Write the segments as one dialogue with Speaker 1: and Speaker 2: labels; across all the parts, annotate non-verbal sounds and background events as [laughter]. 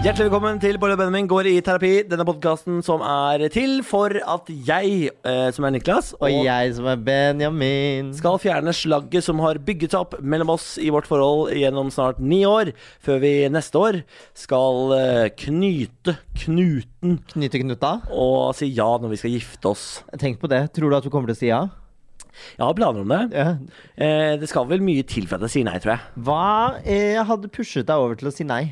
Speaker 1: Hjertelig velkommen til Bolle og Benjamin går i terapi. Denne podkasten som er til for at jeg, eh, som er Niklas,
Speaker 2: Og jeg som er Benjamin.
Speaker 1: skal fjerne slagget som har bygget seg opp mellom oss i vårt forhold gjennom snart ni år, før vi neste år skal eh, knyte knuten
Speaker 2: knyte knuta.
Speaker 1: og si ja når vi skal gifte oss.
Speaker 2: Tenk på det. Tror du at du kommer til å si ja?
Speaker 1: Jeg har planer om det.
Speaker 2: Ja.
Speaker 1: Eh, det skal vel mye til for at jeg sier nei, tror jeg.
Speaker 2: Hva eh, hadde pushet deg over til å si nei?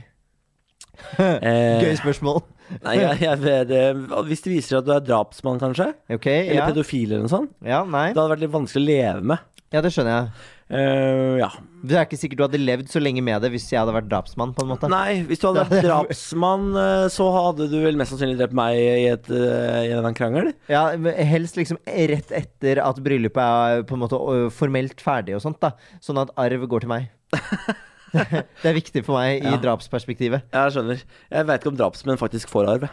Speaker 2: [laughs] Gøy
Speaker 1: Eh,
Speaker 2: spørsmål.
Speaker 1: nei, jeg, jeg vet, eh, hvis det viser at du er drapsmann, kanskje,
Speaker 2: Ok,
Speaker 1: eller
Speaker 2: ja.
Speaker 1: pedofil eller noe sånt,
Speaker 2: ja. Nei.
Speaker 1: det hadde vært litt vanskelig å leve med.
Speaker 2: Ja, det skjønner jeg.
Speaker 1: Eh, ja.
Speaker 2: Det er ikke sikkert du hadde levd så lenge med det hvis jeg hadde vært drapsmann, på en måte.
Speaker 1: Nei, hvis du hadde
Speaker 2: [laughs]
Speaker 1: vært drapsmann, eh, så hadde du vel mest sannsynlig drept meg i, et, eh, i en eller annen krangel.
Speaker 2: Ja, men helst liksom rett etter at bryllupet er på en måte ø, formelt ferdig og sånt, da. Sånn at arv går til [laughs] meg. det er viktig for meg i
Speaker 1: Ja.
Speaker 2: drapsperspektivet.
Speaker 1: Jeg skjønner. Jeg veit ikke om drapsmenn faktisk får arv.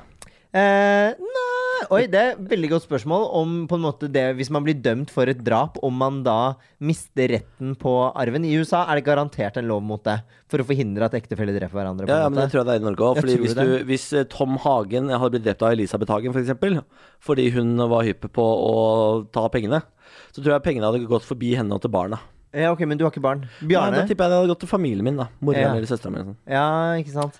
Speaker 2: Eh, nei Oi, det er et veldig godt spørsmål om på en måte det Hvis man blir dømt for et drap, om man da mister retten på arven. I USA er det garantert en lov mot det, for å forhindre at ektefeller dreper hverandre. på
Speaker 1: Ja, ja,
Speaker 2: en
Speaker 1: men det
Speaker 2: måte.
Speaker 1: tror jeg det er i Norge òg.
Speaker 2: Jeg tror
Speaker 1: Hvis,
Speaker 2: det.
Speaker 1: du- hvis eh, Tom Hagen hadde blitt drept av Elisabeth Hagen, f.eks., for eksempel, fordi hun var hypp på å ta pengene, så tror jeg pengene hadde gått forbi henne og til barna.
Speaker 2: ja, ok, men du har ikke barn.
Speaker 1: Nei,
Speaker 2: Bjarne?
Speaker 1: da tipper jeg det hadde gått til familien min, da. Moren
Speaker 2: Ja.
Speaker 1: eller søsteren min. Eller sånn.
Speaker 2: Ja, ikke sant.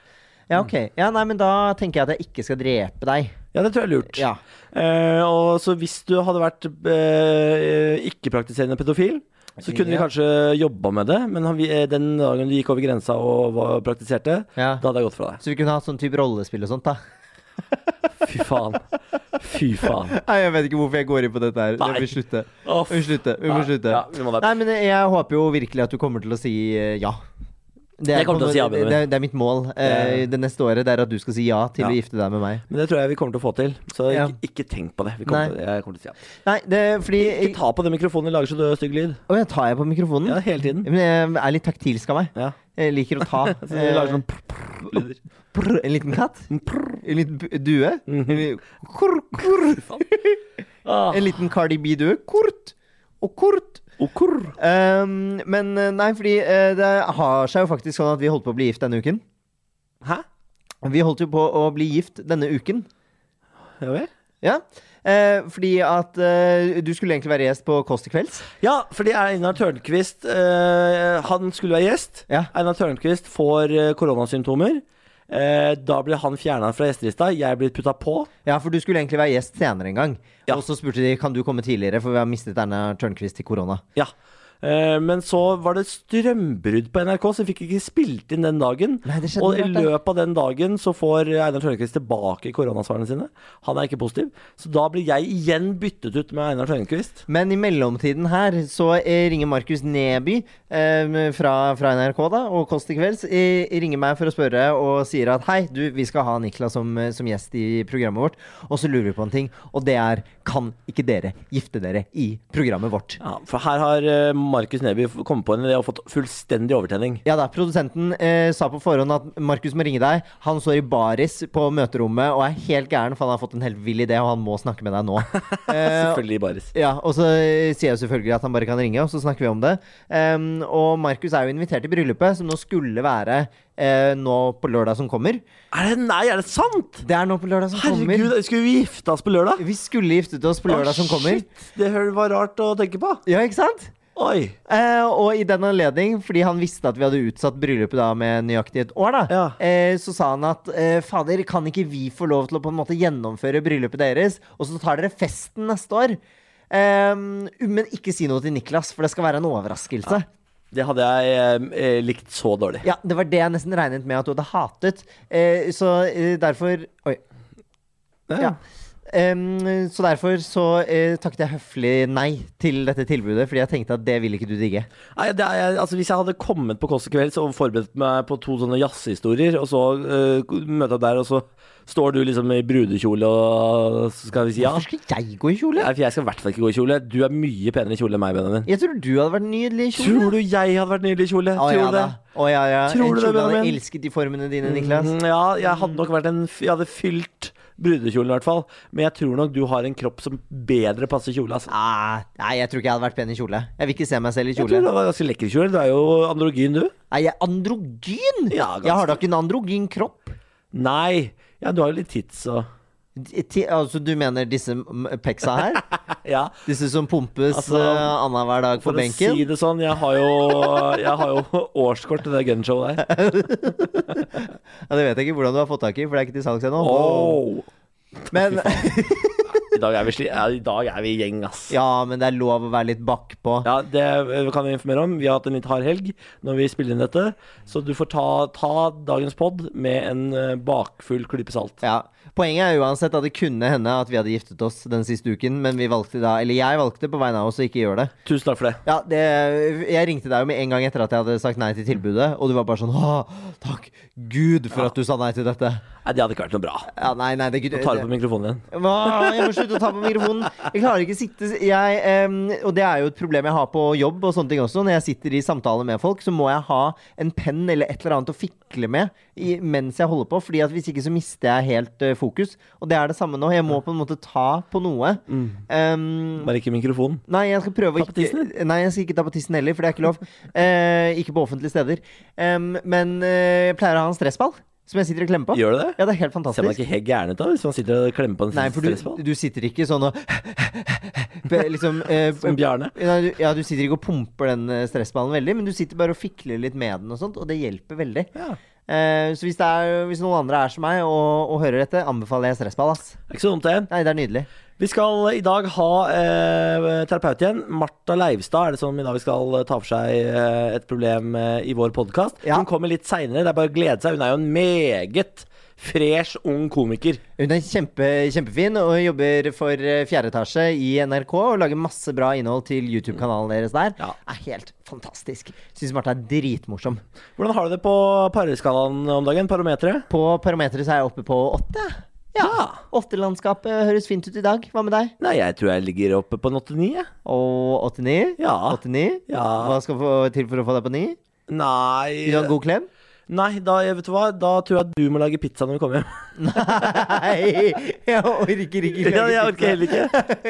Speaker 2: Ja, ok. Ja, nei, men da tenker jeg at jeg ikke skal drepe deg.
Speaker 1: Ja, det tror jeg er lurt.
Speaker 2: Ja.
Speaker 1: Eh, og så hvis du hadde vært eh, ikke-praktiserende pedofil, så kunne vi
Speaker 2: Ja.
Speaker 1: kanskje jobba med det, men han- vi- eh, den dagen du gikk over grensa og var, praktiserte,
Speaker 2: Ja.
Speaker 1: da hadde jeg gått fra deg.
Speaker 2: Så vi kunne hatt sånn type rollespill og sånt, da.
Speaker 1: Fy faen. Fy faen.
Speaker 2: [laughs] Nei, jeg vet ikke hvorfor jeg går inn på dette her.
Speaker 1: Nei.
Speaker 2: Vi må slutte.
Speaker 1: Å,
Speaker 2: Vi må slutte. Vi
Speaker 1: Nei,
Speaker 2: må slutte.
Speaker 1: ja, vi må da-
Speaker 2: Nei, men jeg håper jo virkelig at du kommer til å si eh, ja. Det
Speaker 1: Jeg kommer til å si ja,
Speaker 2: det,
Speaker 1: Benjamin.
Speaker 2: er, det er mitt mål eh, det neste året. Det er at du skal si ja til
Speaker 1: Ja.
Speaker 2: å gifte deg med meg.
Speaker 1: Men det tror jeg vi kommer til å få til, så
Speaker 2: Ja.
Speaker 1: ikke, ikke tenk på det. Vi kommer
Speaker 2: Nei.
Speaker 1: til, jeg kommer til å si ja.
Speaker 2: Nei, det er fordi
Speaker 1: Ikke ta på den mikrofonen, det lager så død, stygg lyd.
Speaker 2: Å, jeg tar jeg på mikrofonen?
Speaker 1: Ja, hele tiden.
Speaker 2: Men jeg er litt taktilsk av meg.
Speaker 1: Ja.
Speaker 2: Jeg liker å ta.
Speaker 1: [laughs] Så det
Speaker 2: eh,
Speaker 1: lager sånn prr, prr, lyder.
Speaker 2: prr, en liten katt? En liten bu- due?
Speaker 1: Mhm.
Speaker 2: En liten- kurr, kurr.
Speaker 1: Ah,
Speaker 2: En liten Cardi B-due. Kort og kort.
Speaker 1: okur.
Speaker 2: Um, men eh, nei, fordi eh, det har seg jo faktisk sånn at vi holdt på å bli gift denne uken.
Speaker 1: Hæ?
Speaker 2: Vi holdt jo på å bli gift denne uken.
Speaker 1: Ja vel?
Speaker 2: Ja. Eh, fordi at eh, du skulle egentlig være gjest på Kåss til kvelds.
Speaker 1: Ja, fordi Einar Tørnquist eh, Han skulle være gjest.
Speaker 2: Ja.
Speaker 1: Einar Tørnquist får eh, koronasymptomer. Eh, da blir han fjerna fra gjestelista. Jeg blir putta på.
Speaker 2: Ja, for du skulle egentlig være gjest senere en gang.
Speaker 1: Ja.
Speaker 2: Og så spurte de kan du komme tidligere, for vi har mistet Erna Tørnquist til korona.
Speaker 1: Ja. Eh, men så var det strømbrudd på NRK, så vi fikk ikke spilt inn den dagen.
Speaker 2: Nei, det skjedde
Speaker 1: og i
Speaker 2: rart, det.
Speaker 1: løpet av den dagen så får Einar Tørnquist tilbake koronasvarene sine. Han er ikke positiv. Så da blir jeg igjen byttet ut med Einar Tørnquist.
Speaker 2: Men i mellomtiden her så eh, ringer Markus Neby eh, fra, fra NRK da, og Kåss til kvelds eh, ringer meg for å spørre og sier at hei, du, vi skal ha Niklas som, eh, som gjest i programmet vårt. Og så lurer vi på en ting, og det er kan ikke dere gifte dere i programmet vårt?
Speaker 1: Ja, for her har eh, Markus Neby f- kommet på en idé og fått fullstendig overtenning.
Speaker 2: Ja da, Produsenten eh, sa på forhånd at Markus må ringe deg. Han står i baris på møterommet og er helt gæren, for han har fått en helt vill idé, og han må snakke med deg nå. Eh,
Speaker 1: Selvfølgelig Baris.
Speaker 2: Ja, og så eh, sier jeg selvfølgelig at han bare kan ringe, og så snakker vi om det. Ehm, og Markus er jo invitert til bryllupet, som nå skulle være eh, nå på lørdag som kommer.
Speaker 1: Er det nei, er det sant?!
Speaker 2: Det er nå på lørdag som
Speaker 1: Herregud,
Speaker 2: kommer.
Speaker 1: skulle vi gifte oss på lørdag?
Speaker 2: Vi skulle giftet oss på lørdag som kommer.
Speaker 1: Shit, det hø- var rart å tenke på.
Speaker 2: Ja, ikke sant?
Speaker 1: Oi.
Speaker 2: Eh, og i den anledning, fordi han visste at vi hadde utsatt bryllupet da med nøyaktig et år, da,
Speaker 1: Ja.
Speaker 2: eh, så sa han at eh, fader, kan ikke vi få lov til å på en måte gjennomføre bryllupet deres, og så tar dere festen neste år? Ehm, men ikke si noe til Niklas, for det skal være en overraskelse.
Speaker 1: Det hadde jeg eh, eh, likt så dårlig.
Speaker 2: Ja, det var det jeg nesten regnet med at du hadde hatet. Eh, så eh, derfor Oi. Ja. Em, så derfor så eh, takket jeg høflig nei til dette tilbudet, fordi jeg tenkte at det vil ikke du digge.
Speaker 1: Nei, det er, jeg- altså, hvis jeg hadde kommet på Kåss i kveld og forberedt meg på to sånne jazzhistorier, og så uh, møter jeg der, og så står du liksom i brudekjole og så skal vi si ja
Speaker 2: Hvorfor skal jeg gå i kjole?
Speaker 1: Nei, for jeg skal i hvert fall ikke gå i kjole. Du er mye penere i kjole enn meg, Benjamin.
Speaker 2: Jeg tror du hadde vært nydelig i kjole.
Speaker 1: Tror du jeg hadde vært nydelig i kjole?
Speaker 2: Å,
Speaker 1: Tror
Speaker 2: ja,
Speaker 1: du det?
Speaker 2: da. Å, ja, ja.
Speaker 1: Tror
Speaker 2: en
Speaker 1: du det,
Speaker 2: kjole hadde
Speaker 1: Benjamin?
Speaker 2: elsket de formene dine, Niklas.
Speaker 1: Mm, Ja, jeg hadde nok vært en f- Jeg hadde fylt brudekjolen i hvert fall. Men jeg tror nok du har en kropp som bedre passer kjole. Altså.
Speaker 2: Ah, nei, jeg tror ikke jeg hadde vært pen i kjole. Jeg vil ikke se meg selv i
Speaker 1: Jeg tror
Speaker 2: kjole.
Speaker 1: du var ganske lekker i kjole. Du er jo androgyn, du.
Speaker 2: Nei, jeg er androgyn!
Speaker 1: Ja, ganske.
Speaker 2: jeg har da ikke en androgyn kropp.
Speaker 1: Nei. Ja, du har jo litt tits og
Speaker 2: Ti- altså, du mener disse m- peksa her?
Speaker 1: [laughs] [laughs] Ja.
Speaker 2: Disse som pumpes
Speaker 1: Altså,
Speaker 2: altså, annenhver dag på
Speaker 1: For å
Speaker 2: benken?
Speaker 1: si det sånn, jeg har jo, jeg har jo [laughs] årskort til det gunshowet der.
Speaker 2: Ja, det vet jeg ikke hvordan du har fått tak i, for det er ikke til salgs ennå.
Speaker 1: [laughs] Åh.
Speaker 2: Men, [laughs]
Speaker 1: I dag er vi, sli ja, i dag er vi gjeng, ass.
Speaker 2: ja, men det er lov å være litt bakpå.
Speaker 1: Ja, det eh, kan vi informere om. Vi har hatt en litt hard helg når vi spiller inn dette, så du får ta, ta dagens pod med en eh, bakfull klype salt.
Speaker 2: Ja. Poenget er uansett at det kunne hende at vi hadde giftet oss den siste uken, men vi valgte da, eller jeg valgte på vegne av oss å ikke gjøre det.
Speaker 1: Tusen takk for det.
Speaker 2: Ja, det, jeg ringte deg jo med en gang etter at jeg hadde sagt nei til tilbudet, og du var bare sånn Åh, takk Gud for at du sa nei til dette.
Speaker 1: Nei, det hadde ikke vært noe bra.
Speaker 2: Ja, nei, nei, det gud,
Speaker 1: Jeg tar det på mikrofonen igjen.
Speaker 2: Hva? Jeg må slutte å ta på mikrofonen. Jeg klarer ikke å sitte jeg, em, Og det er jo et problem jeg har på jobb og sånne ting også. Når jeg sitter i samtaler med folk, så må jeg ha en penn eller et eller annet å fikle med i, mens jeg holder på. Fordi at hvis ikke så mister jeg helt eh, fokus. Og det er det samme nå. Jeg må på en måte ta på noe. Em,
Speaker 1: Bare ikke mikrofonen.
Speaker 2: Nei, jeg skal
Speaker 1: Mm.
Speaker 2: prøve å
Speaker 1: Ta på tissen?
Speaker 2: ikke Nei, jeg skal ikke ta på tissen heller, for det er ikke lov. Eh, ikke på offentlige steder. Em, men eh, jeg pleier å ha en stressball som jeg sitter og klemmer på.
Speaker 1: Gjør du det?
Speaker 2: Ja, det er helt
Speaker 1: Ser man
Speaker 2: fantastisk.
Speaker 1: ikke helt gæren ut da, hvis man sitter og klemmer på en
Speaker 2: Nei, for
Speaker 1: stressball?
Speaker 2: du, du sitter ikke sånn og [laughs] be- Liksom eh,
Speaker 1: Som Bjarne.
Speaker 2: ja, du- ja, du sitter ikke og pumper den eh, stressballen veldig, men du sitter bare og fikler litt med den, og sånt, og det hjelper veldig.
Speaker 1: Ja.
Speaker 2: Eh, så hvis, det er, hvis noen andre er som meg og, og hører dette, anbefaler jeg stressball. ass
Speaker 1: Det er ikke så dumt, det.
Speaker 2: Nei, det er nydelig.
Speaker 1: Vi skal i dag ha eh, terapeut igjen. Martha Leivstad er det som i dag skal ta for seg eh, et problem eh, i vår podkast.
Speaker 2: Ja.
Speaker 1: Hun kommer litt seinere. Det er bare å glede seg. Hun er jo en meget fresh ung komiker.
Speaker 2: Hun er kjempe, kjempefin og jobber for eh, fjerde etasje i NRK og lager masse bra innhold til YouTube-kanalen deres der.
Speaker 1: Mm. Ja.
Speaker 2: Er helt fantastisk. Syns Martha er dritmorsom.
Speaker 1: Hvordan har du det på pareskalaen om dagen? Parometeret?
Speaker 2: På Parometeret så er jeg oppe på åtte. Ja. Åttelandskapet høres fint ut i dag. Hva med deg?
Speaker 1: Nei, jeg tror jeg ligger oppe på en 89. jeg.
Speaker 2: Og 89?
Speaker 1: Ja.
Speaker 2: 89?
Speaker 1: Ja.
Speaker 2: Hva skal få til for å få deg på ni?
Speaker 1: Nei
Speaker 2: Vil du ha en god
Speaker 1: [laughs]
Speaker 2: klem?
Speaker 1: Nei, da, vet du hva? da tror jeg at du må lage pizza når vi kommer hjem.
Speaker 2: Nei, jeg orker ikke lage
Speaker 1: Ja, jeg orker heller ikke.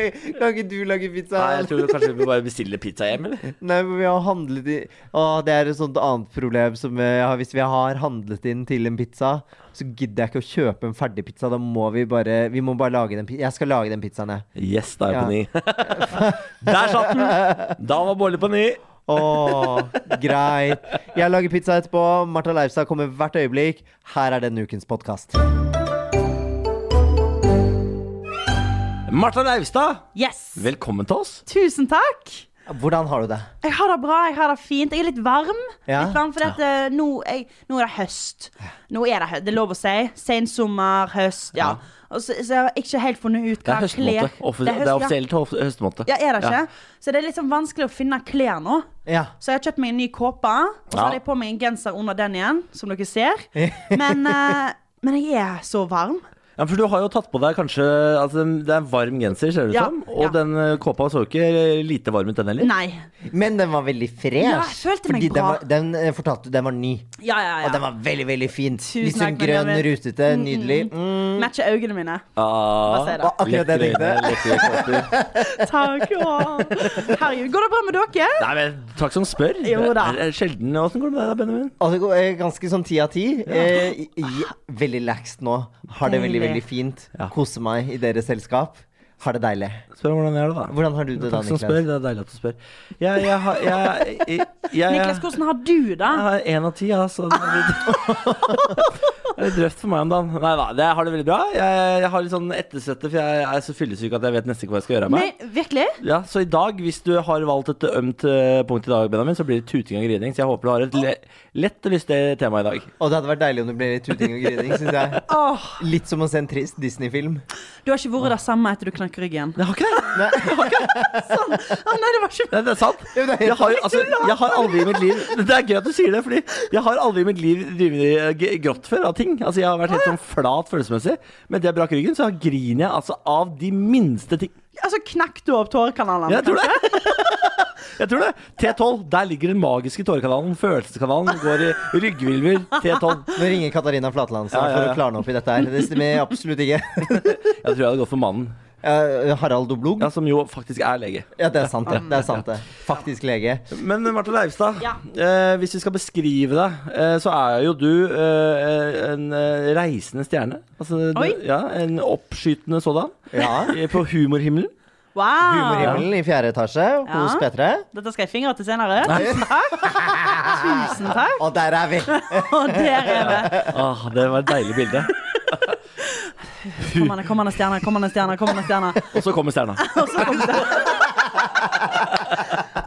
Speaker 2: ikke. [laughs] Kan ikke du lage pizza?
Speaker 1: [laughs] Nei, jeg tror kanskje vi bare bestiller pizza hjem, eller?
Speaker 2: Nei, men vi har handlet i Å, det er et sånt annet problem som eh, jeg har. Hvis vi har handlet inn til en pizza, så gidder jeg ikke å kjøpe en ferdig pizza. Da må vi bare Vi må bare lage den pi- Jeg skal lage den pizzaen, jeg.
Speaker 1: Yes, da er jeg på ni. [laughs] Der satt den! Da var Bårli på ni.
Speaker 2: Å, greit. Jeg lager pizza etterpå. Martha Leivstad kommer hvert øyeblikk. Her er denne ukens podkast.
Speaker 1: Martha Leivstad,
Speaker 3: Yes!
Speaker 1: velkommen til oss.
Speaker 3: Tusen takk!
Speaker 2: Hvordan har du det?
Speaker 3: Jeg har det bra, jeg har det fint. Jeg er litt varm.
Speaker 2: Ja.
Speaker 3: Litt varm for dette, eh, nå, jeg, nå er det høst. Nå er det høst, det er lov å si. Sensommer, høst, ja. Og så, så jeg har ikke helt funnet ut
Speaker 1: Det
Speaker 3: hva
Speaker 1: er høstmåned. Offis- Det er
Speaker 3: høst-
Speaker 1: offisielt høst- høstmåned.
Speaker 3: Ja. ja, er det ikke? Så det er litt sånn vanskelig å finne klær nå.
Speaker 2: Ja.
Speaker 3: Så jeg har kjøpt meg en ny kåpe, og så
Speaker 1: Ja.
Speaker 3: hadde jeg på meg en genser under den igjen, som dere ser. Men, eh, men jeg er så varm.
Speaker 1: Ja, for du har jo tatt på deg kanskje altså, Det er en varm genser, ser det ut
Speaker 3: Ja,
Speaker 1: som.
Speaker 3: ja.
Speaker 1: Og den eh, kåpa så jo ikke lite varm ut, den heller.
Speaker 3: Nei.
Speaker 2: Men den var veldig fresh.
Speaker 3: Ja, jeg følte meg
Speaker 2: fordi den,
Speaker 3: bra.
Speaker 2: var, den eh, fortalte du den var ny.
Speaker 3: Ja, ja, ja.
Speaker 2: Og den var veldig, veldig fin.
Speaker 3: Tusen
Speaker 2: Litt sånn
Speaker 3: takk, men
Speaker 2: grønn,
Speaker 3: jeg vet-
Speaker 2: rutete, nydelig. Mm.
Speaker 3: Matcher øynene mine.
Speaker 1: Ah,
Speaker 3: Hva sier
Speaker 2: Å, akkurat det jeg
Speaker 1: lekre
Speaker 2: tenkte.
Speaker 1: øyne, lekre kåper.
Speaker 3: Takk. Å. Herregud, går det bra med dere?
Speaker 1: Nei, men takk som spør.
Speaker 3: Jo da.
Speaker 1: Det er- er Sjelden. Åssen går det med deg da, Benjamin?
Speaker 2: Og det går eh, ganske sånn ti av ti. Eh, i- i- Veldig relaxed nå. Har det veldig,
Speaker 3: Deilig.
Speaker 2: veldig fint.
Speaker 1: Ja.
Speaker 2: Koser meg i deres selskap. har det deilig.
Speaker 1: Spør om hvordan jeg har det, da.
Speaker 2: Hvordan har du det da,
Speaker 1: Takk som spør.
Speaker 2: Niklas?
Speaker 1: Det er deilig at du spør. Jeg, jeg, har- jeg, jeg, jeg,
Speaker 3: Niklas, hvordan har du det?
Speaker 1: Jeg har én av ti, ja. Så det er litt, [laughs] det er litt røft for meg om dagen. Nei da, jeg har det veldig bra. Jeg, jeg har litt sånn ettersvette, for jeg er så fyllesyk at jeg vet nesten ikke hva jeg skal gjøre av
Speaker 3: Nei,
Speaker 1: meg.
Speaker 3: virkelig?
Speaker 1: Ja, Så i dag, hvis du har valgt et ømt eh, punkt i dag, Benjamin, så blir det tuting og grining. Så jeg håper du har et le lett og lystig tema i dag.
Speaker 2: Og det hadde vært deilig om det ble litt tuting og grining, syns jeg.
Speaker 3: Åh,
Speaker 2: Litt som å se en trist Disney-film.
Speaker 3: du har ikke vært det samme etter du knakk ryggen.
Speaker 1: Jeg har ikke det.
Speaker 3: Sånn. Å nei, det var ikke
Speaker 1: Nei, det er sant. Jeg har, jo- altså, jeg har aldri i mitt liv Det er gøy at du sier det, Fordi jeg har aldri i mitt liv drevet g- grått før av ting. Altså Jeg har vært helt sånn flat følelsesmessig. Men det jeg brakk ryggen, så griner jeg altså av de minste ting.
Speaker 3: Altså, knakk du opp tårekanalene?
Speaker 1: Jeg tror det. [laughs] Jeg tror det. T12. Der ligger den magiske tårekanalen. Følelseskanalen går i rygghvilver. T12.
Speaker 2: Nå ringer Katarina Flatland snart
Speaker 1: Ja, ja, ja.
Speaker 2: for å klarne opp i dette her. Det stemmer absolutt
Speaker 1: [laughs]
Speaker 2: ikke.
Speaker 1: Jeg tror jeg hadde gått for mannen,
Speaker 2: Eh, Harald Doblog?
Speaker 1: ja, som jo faktisk er lege.
Speaker 2: Ja, det er sant, det. det, er sant, det. Faktisk lege.
Speaker 1: Men Marte Leivstad,
Speaker 3: Ja.
Speaker 1: eh, hvis vi skal beskrive deg, eh, så er jo du eh, en eh, reisende stjerne. Altså, du,
Speaker 3: Oi.
Speaker 1: ja, en oppskytende sådan.
Speaker 2: Ja.
Speaker 1: Eh, På humorhimmelen.
Speaker 3: Wow!
Speaker 2: Humorhimmelen i fjerde etasje hos
Speaker 3: Ja.
Speaker 2: P3.
Speaker 3: Dette skal jeg fingre til senere. Tusen takk. Tusen takk.
Speaker 2: Og der er vi!
Speaker 3: Og der er vi.
Speaker 1: Ah, det var et deilig bilde.
Speaker 3: Kommende, kommende stjerner, kommende stjerner, kommende stjerner.
Speaker 1: Og så kommer stjerna.
Speaker 3: Og så kom det.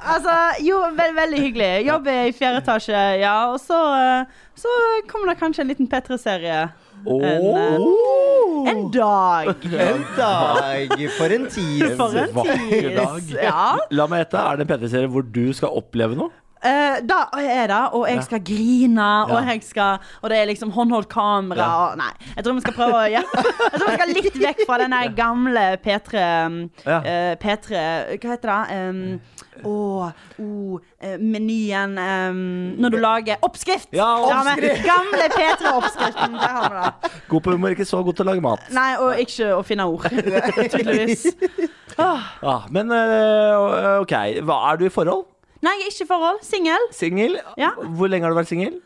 Speaker 3: Altså, jo, ve veldig hyggelig. Jobber i fjerde etasje, ja. Og så, eh, så kommer det kanskje en liten P3-serie
Speaker 1: Åh.
Speaker 3: eh, en dag.
Speaker 2: En dag! For en tid!
Speaker 3: [laughs] For en
Speaker 1: vakker
Speaker 3: tis.
Speaker 1: dag.
Speaker 3: Ja.
Speaker 1: La meg gjette, er det en PT-serie hvor du skal oppleve noe?
Speaker 3: Eh, da er det, og jeg skal grine, og,
Speaker 1: Ja.
Speaker 3: jeg skal, og det er liksom håndholdt kamera
Speaker 1: Ja.
Speaker 3: og Nei, jeg tror vi skal prøve å
Speaker 1: [laughs]
Speaker 3: ja. Jeg tror vi skal litt vekk fra den der gamle P3
Speaker 1: Ja.
Speaker 3: eh, P3 Hva heter det? Um, å, oh, eh, menyen em, Når du lager Oppskrift!
Speaker 1: Ja,
Speaker 3: Der har vi- Gamle P3-oppskriften. Der har vi det.
Speaker 1: God på humor, ikke så god til å lage mat.
Speaker 3: Nei, og ikke å finne
Speaker 1: [laughs]
Speaker 3: ord, tydeligvis.
Speaker 1: Ah, men eh, OK, hva er du i forhold?
Speaker 3: Nei, jeg er ikke i forhold. Singel.
Speaker 1: Singel?
Speaker 3: Ja.
Speaker 1: Hvor lenge har du vært singel?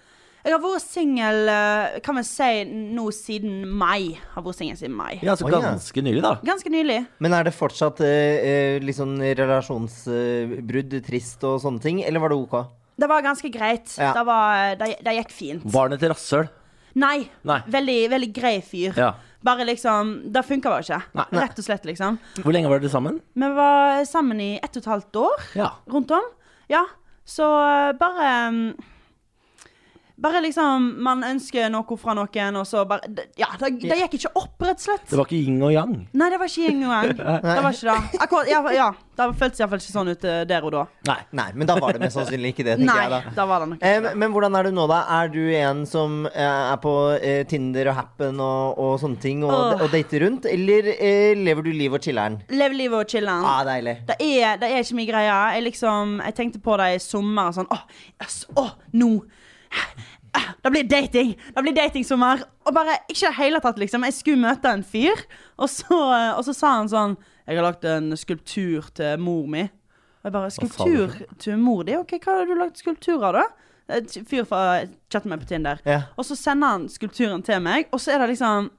Speaker 3: Jeg har vært singel eh, kan vi si nå siden mai. Har vært singel siden mai.
Speaker 1: Ja, altså
Speaker 2: Oi, ja.
Speaker 1: ganske nylig, da.
Speaker 3: Ganske nylig.
Speaker 2: Men er det fortsatt eh, eh, litt sånn relasjonsbrudd, trist og sånne ting, eller var det ok?
Speaker 3: Det var ganske greit.
Speaker 2: Ja.
Speaker 3: Det, var, eh, det, det gikk fint.
Speaker 1: Var han et rasshøl?
Speaker 3: Nei.
Speaker 1: Nei.
Speaker 3: Veldig, veldig grei fyr.
Speaker 1: Ja.
Speaker 3: Bare liksom Det funka bare ikke.
Speaker 1: Nei. Nei.
Speaker 3: Rett og slett, liksom.
Speaker 1: Hvor lenge var dere sammen?
Speaker 3: Vi var sammen i ett og et halvt år
Speaker 1: Ja.
Speaker 3: rundt om. Ja. Så eh, bare mm, Bare liksom Man ønsker noe fra noen, og så bare det- Ja, det, det gikk ikke opp, rett og slett.
Speaker 1: Det var ikke yin og yang?
Speaker 3: Nei, det var ikke yin
Speaker 2: [laughs]
Speaker 3: og yang. Det var ikke det. Akkurat, ja, ja, det føltes iallfall ikke sånn ut eh, der og da.
Speaker 1: Nei.
Speaker 2: Nei, men da var det mest sannsynlig ikke det, tenker
Speaker 3: Nei,
Speaker 2: jeg da.
Speaker 3: da var det nok
Speaker 2: Eh, men- men hvordan er du nå, da? Er du en som eh, er på eh, Tinder og Happen og, og sånne ting, og,
Speaker 3: Åh.
Speaker 2: og dater rundt, eller eh, lever du livet og chiller'n?
Speaker 3: Lev livet og chiller'n.
Speaker 2: Ah, deilig.
Speaker 3: Det er, det er ikke min greie. Jeg, liksom, jeg tenkte på det i sommer. Sånn, åh, yes, åh, nå Ah, Det blir dating! Det blir datingsommer. Og bare ikke i det hele tatt, liksom. Jeg skulle møte en fyr, og så, og så sa han sånn Jeg har lagt en skulptur til mor mi. Og jeg bare
Speaker 1: sa du
Speaker 3: Skulptur til mor di? Ok, hva har du lagd skulptur av, da? Et fyr fra chatten meg på Tinder.
Speaker 2: Ja.
Speaker 3: Og så sender han skulpturen til meg, og så er det liksom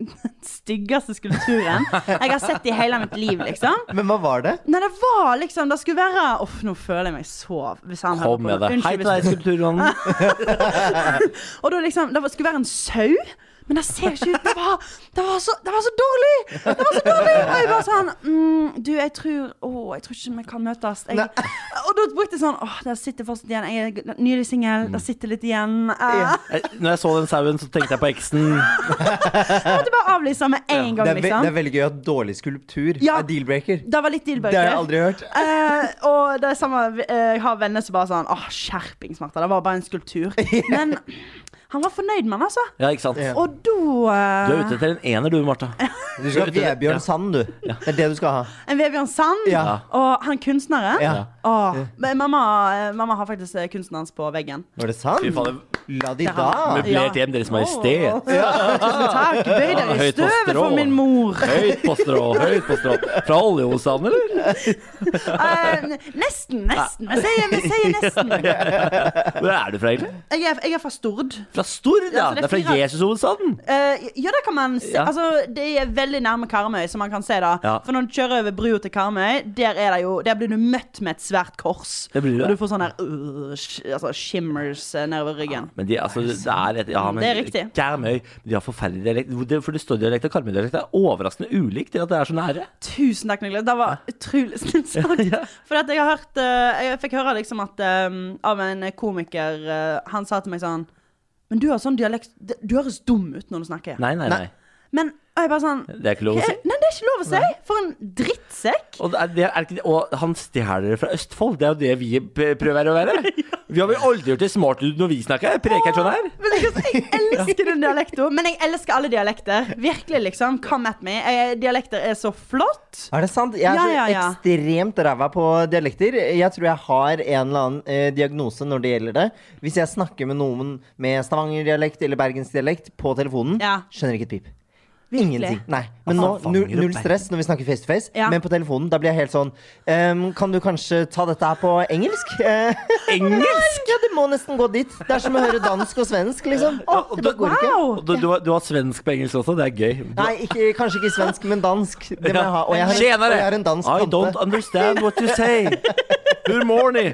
Speaker 3: [laughs] den styggeste skulpturen jeg har sett i hele mitt liv, liksom.
Speaker 2: Men hva var det?
Speaker 3: Nei, det var liksom Det skulle være Uff, nå føler jeg meg så hvis han hører
Speaker 1: Kom
Speaker 3: på
Speaker 1: med
Speaker 3: nå.
Speaker 1: det. Hei
Speaker 3: Unnskyld,
Speaker 1: til deg,
Speaker 3: [laughs]
Speaker 1: skulpturmannen.
Speaker 3: hvis- Og da liksom Det var- skulle være en sau. Men det ser ikke ut Det var, det var, så, det var så dårlig! Det var så dårlig! Og jeg bare sånn mm, Du, jeg tror Å, jeg tror ikke vi kan møtes. Jeg, og da brukte jeg sånn Åh, der sitter fortsatt igjen. Jeg er nylig singel.
Speaker 2: Mm.
Speaker 3: Der sitter litt igjen. Eh,
Speaker 1: Eh, Når jeg så den sauen, så tenkte jeg på eksen.
Speaker 3: jeg måtte bare avlyse med en gang,
Speaker 2: Det er, ve det er
Speaker 3: liksom.
Speaker 2: veldig gøy at dårlig skulptur
Speaker 3: Ja.
Speaker 2: er deal-breaker.
Speaker 3: Det var litt
Speaker 2: Det har jeg
Speaker 3: deal-breaker.
Speaker 2: aldri hørt.
Speaker 3: Eh, og det er samme eh, Jeg har venner som bare sånn Åh, skjerpings, Martha. Det var bare en
Speaker 1: [laughs]
Speaker 3: skulptur. Men han var fornøyd med den, altså.
Speaker 1: Ja, ikke sant?
Speaker 2: Ja.
Speaker 3: Og da
Speaker 1: Du er
Speaker 3: eh,
Speaker 1: ute etter en ener, du, Marta.
Speaker 2: Du skal ha
Speaker 1: Vet du det? Ja.
Speaker 2: Vebjørn Sand, du. Det er det du skal ha.
Speaker 3: En Vebjørn Sand
Speaker 2: Ja.
Speaker 3: og han kunstneren.
Speaker 2: Ja.
Speaker 3: Åh, men mamma, eh, mamma har faktisk eh, kunstneren hans på
Speaker 1: [laughs]
Speaker 3: veggen.
Speaker 2: Var det sant?
Speaker 1: Fy faen,
Speaker 2: La de
Speaker 3: Det har
Speaker 2: da.
Speaker 3: han.
Speaker 1: Møblert hjem, Deres Majestet.
Speaker 3: Åh, Tusen takk.
Speaker 1: Han
Speaker 3: Bøy
Speaker 1: er
Speaker 3: dere i
Speaker 1: høyt på
Speaker 3: støvet
Speaker 1: strå. [laughs]
Speaker 3: for min mor.
Speaker 1: Høyt på strå, høyt på strå. Fra oljehosen, eller?
Speaker 3: Eh, nesten, nesten. Jeg sier, jeg sier nesten. Jeg
Speaker 1: Hvor er du fra, egentlig?
Speaker 3: er, jeg er fra Stord.
Speaker 1: Fra Stord, ja.
Speaker 3: Ja, så det
Speaker 1: Det
Speaker 3: er
Speaker 1: er fra
Speaker 3: fire-
Speaker 1: Jesushovedstaden.
Speaker 3: Eh, ja, det kan man se.
Speaker 1: Ja.
Speaker 3: Altså, det er veldig nærme Karmøy, som man kan se da.
Speaker 1: Ja.
Speaker 3: For når du kjører over brua til Karmøy, der, er det jo, der blir du møtt med et svært kors.
Speaker 1: Det blir det.
Speaker 3: Og du får sånn der øh, sh- altså, shimmers eh, nedover ryggen.
Speaker 1: Men de, altså, det er et, ja, men
Speaker 3: Det er riktig.
Speaker 1: Karmøy, de har forferdelig dialekt. Hvor det- For det står dialekt og karmøydialekt er overraskende ulikt til at det er så nære.
Speaker 3: Tusen takk, Niklas. Det var utrolig [laughs] snilt sagt. For at jeg har hørt eh, Jeg fikk høre liksom at eh, av en komiker eh, Han sa til meg sånn Men du har sånn dialekt Du høres dum ut når du snakker.
Speaker 1: Nei, nei,
Speaker 2: Nei.
Speaker 1: nei.
Speaker 3: Men og jeg bare sånn
Speaker 1: Det er ikke lov å si.
Speaker 3: «Hva er- Nei, det er ikke lov å si! For en drittsekk!
Speaker 1: Og, det er, det er ikke, det- og han stjeler fra Østfold. Det er jo det vi p- prøver å
Speaker 2: [laughs]
Speaker 1: være. Vi har vel aldri gjort det smart ut når vi snakker. Preker sånn her.
Speaker 3: Men liksom, jeg elsker den dialekten, men jeg elsker alle dialekter. Virkelig, liksom. Come at me. Eh, Dialekter er så flott.
Speaker 2: Er det sant? Jeg er
Speaker 3: Ja,
Speaker 2: så
Speaker 3: ja, ja.
Speaker 2: ekstremt ræva på dialekter. Jeg tror jeg har en eller annen eh, diagnose når det gjelder det. Hvis jeg snakker med noen med stavangerdialekt eller bergensdialekt på telefonen,
Speaker 3: Ja.
Speaker 2: skjønner ikke et pip.
Speaker 3: Virkelig.
Speaker 2: Ingenting. Nei. Men nå,
Speaker 1: faen, fanger
Speaker 2: null,
Speaker 1: og
Speaker 2: null
Speaker 1: Bergen.
Speaker 2: stress når vi snakker face to face,
Speaker 3: Ja.
Speaker 2: men på telefonen da blir jeg helt sånn ehm, Kan du kanskje ta dette her på engelsk? [laughs] Eh,
Speaker 1: Engelsk!
Speaker 2: ja, det må nesten gå dit. Det er som å høre dansk og svensk, liksom.
Speaker 1: Og- og
Speaker 2: det bare går ikke.
Speaker 3: Wow!
Speaker 1: Og du, du, har, du har svensk på engelsk også. Det er gøy. Du-
Speaker 2: Nei, ikke, kanskje ikke svensk, men dansk. Det må jeg ha. Og jeg har,
Speaker 1: Tjenere!
Speaker 2: og jeg har en dansk
Speaker 1: I don't
Speaker 2: tante.
Speaker 1: understand what you say. Good morning.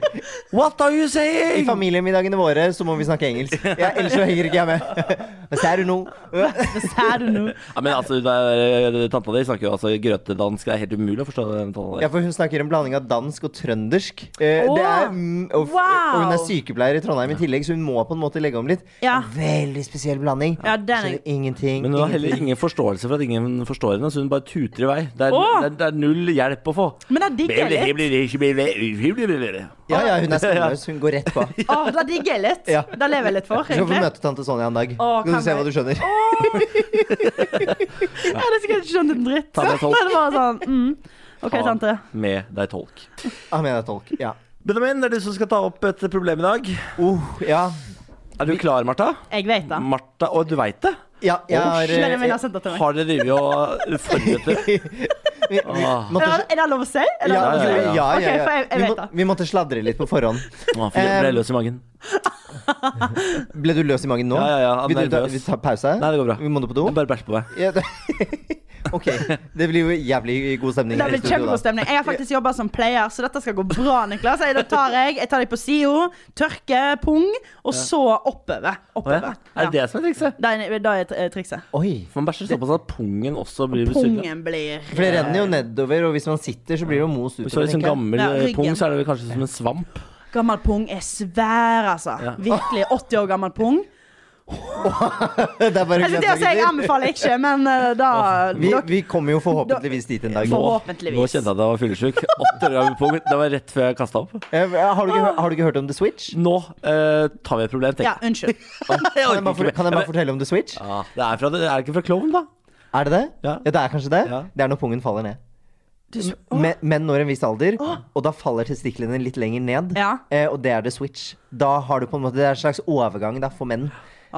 Speaker 1: What are you
Speaker 2: I
Speaker 1: saying?
Speaker 2: familiemiddagene våre så må vi snakke engelsk. Ja, ellers så henger ikke jeg med. [laughs] Men ser du noe?
Speaker 3: Hva sier du nå?
Speaker 1: Ja, men altså, det er- Tanta di snakker jo altså grøtedansk. Det er helt umulig å forstå den tanta
Speaker 2: Ja,
Speaker 1: di.
Speaker 2: for hun snakker en blanding av dansk og trøndersk. Eh,
Speaker 3: Åh,
Speaker 2: det er, mm, og, f-
Speaker 3: wow.
Speaker 2: og hun er sykepleier i Trondheim i tillegg, så hun må på en måte legge om litt.
Speaker 3: Ja.
Speaker 2: Veldig spesiell blanding.
Speaker 3: Ja, den er-
Speaker 2: Skjønner ingenting.
Speaker 1: Men hun har heller
Speaker 2: ingenting.
Speaker 1: ingen forståelse for at ingen forstår henne, så hun bare tuter i vei. Det er,
Speaker 3: Åh!
Speaker 1: det er, det er null hjelp å få.
Speaker 3: Men det digger jeg litt.
Speaker 2: Ja, ja,
Speaker 1: [laughs]
Speaker 2: hun er skamløs. Hun går rett på. Du
Speaker 3: Å, det digger jeg litt.
Speaker 2: Ja.
Speaker 3: Det lever jeg litt for.
Speaker 2: skal få
Speaker 3: egentlig.
Speaker 2: møte tante Sonja en dag.
Speaker 3: Åh,
Speaker 2: Skal du
Speaker 3: kan
Speaker 2: se
Speaker 3: jeg?
Speaker 2: hva du skjønner.
Speaker 3: Ja, det skulle jeg ikke skjønt en dritt.
Speaker 1: Ta med tolk.
Speaker 3: Det var sånn, mm. OK, tante.
Speaker 1: Med deg tolk.
Speaker 2: Ah, men jeg er tolk. Ja.
Speaker 1: Benjamin, det er du som skal ta opp et problem i dag.
Speaker 2: Uh, ja.
Speaker 1: Er du klar, Martha?
Speaker 3: Jeg vet det.
Speaker 1: Martha, Å, du veit det?
Speaker 2: Ja, jeg har eh,
Speaker 3: Benjamin har sendt det til meg. altså.
Speaker 1: Har dere drevet og forberedt dere? [laughs]
Speaker 2: vi, vi,
Speaker 1: Åh.
Speaker 2: måtte,
Speaker 3: Er det- er det lov å si? Er det
Speaker 2: ja,
Speaker 3: lov å si?
Speaker 2: ja, ja, ja,
Speaker 3: Ok, for jeg, jeg
Speaker 2: Vi,
Speaker 3: vet
Speaker 2: må,
Speaker 3: det.
Speaker 2: vi måtte sladre litt på forhånd. Eh,
Speaker 1: Å, fy, jeg ble løs i magen.
Speaker 2: Ble du løs i magen nå?
Speaker 1: Ja, ja, ja,
Speaker 2: Vil du ta,
Speaker 1: nervøs.
Speaker 2: vi tar pause?
Speaker 1: Nei, det går bra.
Speaker 2: Vi må du på do?
Speaker 1: Jeg bare bæsj på meg.
Speaker 2: Ja, det- [laughs] ok. Det blir jo jævlig god stemning.
Speaker 3: Det
Speaker 2: her i
Speaker 3: blir
Speaker 2: studio, da.
Speaker 3: kjempegod stemning. Jeg har faktisk jobba som player, så dette skal gå bra. Niklas Jeg, da tar jeg, jeg tar deg på SIO, tørke, pung, og så oppover.
Speaker 1: Å, ja.
Speaker 3: oppover.
Speaker 1: Er det
Speaker 3: Ja.
Speaker 1: det som er trikset?
Speaker 3: Det er, det er eh, trikset.
Speaker 2: Oi.
Speaker 1: Man bæsjer såpass at pungen også blir besudla.
Speaker 3: Pungen blir eh,
Speaker 2: For det renner jo nedover, og hvis man sitter, så blir det jo most
Speaker 1: Hvis du har
Speaker 2: utover.
Speaker 1: liksom
Speaker 2: tenker jeg.
Speaker 1: gammel
Speaker 3: Ja,
Speaker 1: eh,
Speaker 3: ryggen.
Speaker 1: pung, så er det vel kanskje som en svamp.
Speaker 3: Gammel pung er svær, altså.
Speaker 1: Ja.
Speaker 3: Virkelig. 80 år gammel pung.
Speaker 2: [laughs] Det er bare
Speaker 3: Jeg, skulle til å si, jeg anbefaler ikke, men eh, da
Speaker 2: vi,
Speaker 3: dere-
Speaker 2: vi kommer jo forhåpentligvis dit en dag.
Speaker 3: Forhåpentligvis.
Speaker 1: Nå kjente jeg at jeg var fyllesyk. Åtte år gammel pung. Det var rett før jeg kasta opp.
Speaker 2: Eh, Har du, ikke, hø- har du ikke hørt om The Switch?
Speaker 1: Nå eh, tar vi et problem,
Speaker 3: Ja,
Speaker 1: tenk.
Speaker 3: unnskyld.
Speaker 2: Kan jeg bare,
Speaker 1: ikke mer.
Speaker 2: for, kan jeg
Speaker 1: Jeg
Speaker 2: bare fortelle om The Switch?
Speaker 1: Ja, det er, fra, det er ikke fra klovn, da.
Speaker 2: Er det det?
Speaker 1: Ja.
Speaker 2: det er kanskje det?
Speaker 1: Ja.
Speaker 2: Det er når pungen faller ned.
Speaker 3: Du s-
Speaker 2: Men, men når en viss alder, og da faller testiklene litt lenger ned.
Speaker 3: Ja.
Speaker 2: Eh, og det er the switch. Da har du på en måte, Det er en slags overgang da, for menn.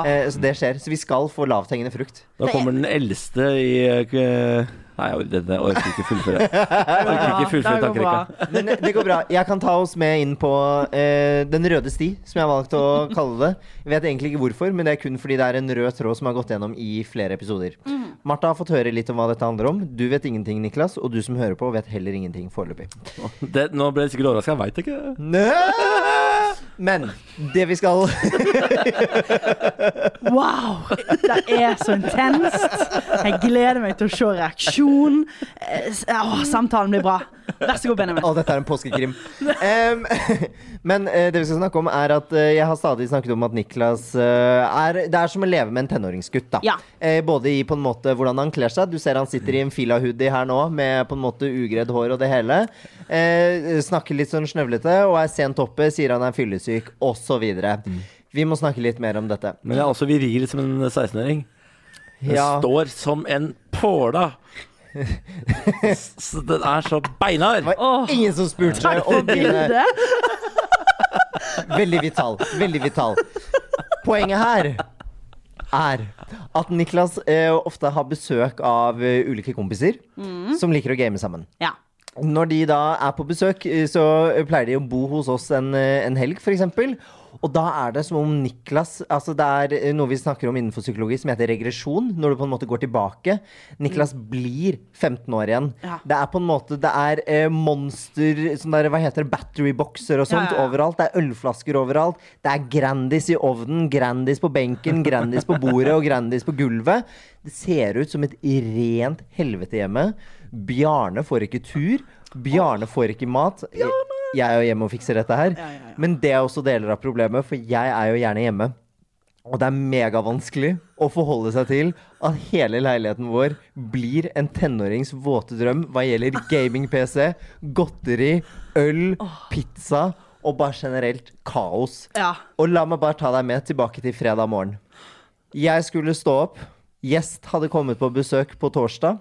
Speaker 2: Eh, så det skjer. Så vi skal få lavthengende frukt.
Speaker 1: Da kommer den eldste i eh, k- Nei, jeg orker- dette orker ikke fullføre. Jeg orker ikke fullføre
Speaker 3: det går bra.
Speaker 1: tankerekka.
Speaker 2: Men eh, det går bra. Jeg kan ta oss med inn på eh, Den røde sti, som jeg har valgt å kalle det. Jeg vet egentlig ikke hvorfor, men det er kun fordi det er en rød tråd som har gått gjennom i flere episoder.
Speaker 3: Mm.
Speaker 2: Martha har fått høre litt om hva dette handler om. Du vet ingenting, Niklas, og du som hører på, vet heller ingenting foreløpig.
Speaker 1: [laughs] Det, nå ble jeg sikkert overraska, jeg veit ikke.
Speaker 2: Nø! Men det vi skal [laughs]
Speaker 3: Wow! Det er så intenst. Jeg gleder meg til å se reaksjon. Eh, s- Åh, samtalen blir bra. Vær så god, Benjamin.
Speaker 2: Å, dette er en påskekrim. Em, [laughs] men eh, det vi skal snakke om, er at eh, jeg har stadig snakket om at Niklas eh, er Det er som å leve med en tenåringsgutt, da.
Speaker 3: Ja.
Speaker 2: Eh, både i på en måte hvordan han kler seg. Du ser han sitter i en fila hoodie her nå med på en måte ugredd hår og det hele. Eh, snakker litt sånn snøvlete og er sent oppe, sier han er fyllesyk, osv. Vi må snakke litt mer om dette.
Speaker 1: Men jeg er også viril som en 16-åring. Jeg
Speaker 2: Ja.
Speaker 1: står som en påla. S- s- Den er så beinhard.
Speaker 2: Det var ingen som spurte om dine
Speaker 3: Bilde.
Speaker 2: Veldig vital. Veldig vital. Poenget her er at
Speaker 3: Mm.
Speaker 2: Niklas eh, ofte har besøk av eh, ulike kompiser som liker å game sammen.
Speaker 3: Ja.
Speaker 2: Når de da er på besøk, eh, så pleier de å bo hos oss en, eh, en helg, f.eks. Og da er det som om Niklas altså Det er eh, noe vi snakker om innenfor psykologi som heter regresjon. Når du på en måte går tilbake. Niklas blir 15 år igjen.
Speaker 3: Mm. Ja.
Speaker 2: Det er på en måte Det er eh, monster sånn der, Hva heter det? Batterybokser og
Speaker 3: Ja,
Speaker 2: sånt
Speaker 3: ja, ja.
Speaker 2: overalt. Det er ølflasker overalt. Det er Grandis i ovnen, Grandis på benken, Grandis på bordet og Grandis på gulvet. Det ser ut som et rent helvete hjemme. Bjarne får ikke tur. Bjarne får ikke mat. Jeg er jo hjemme og fikser dette her.
Speaker 3: Ja, ja, ja.
Speaker 2: Men det er også deler av problemet, for jeg er jo gjerne hjemme. Og det er megavanskelig å forholde seg til at hele leiligheten vår blir en tenårings våte drøm hva gjelder gaming-PC, godteri, øl, pizza og bare generelt kaos.
Speaker 3: Ja.
Speaker 2: Og la meg bare ta deg med tilbake til fredag morgen. Jeg skulle stå opp. Gjest hadde kommet på besøk på torsdag.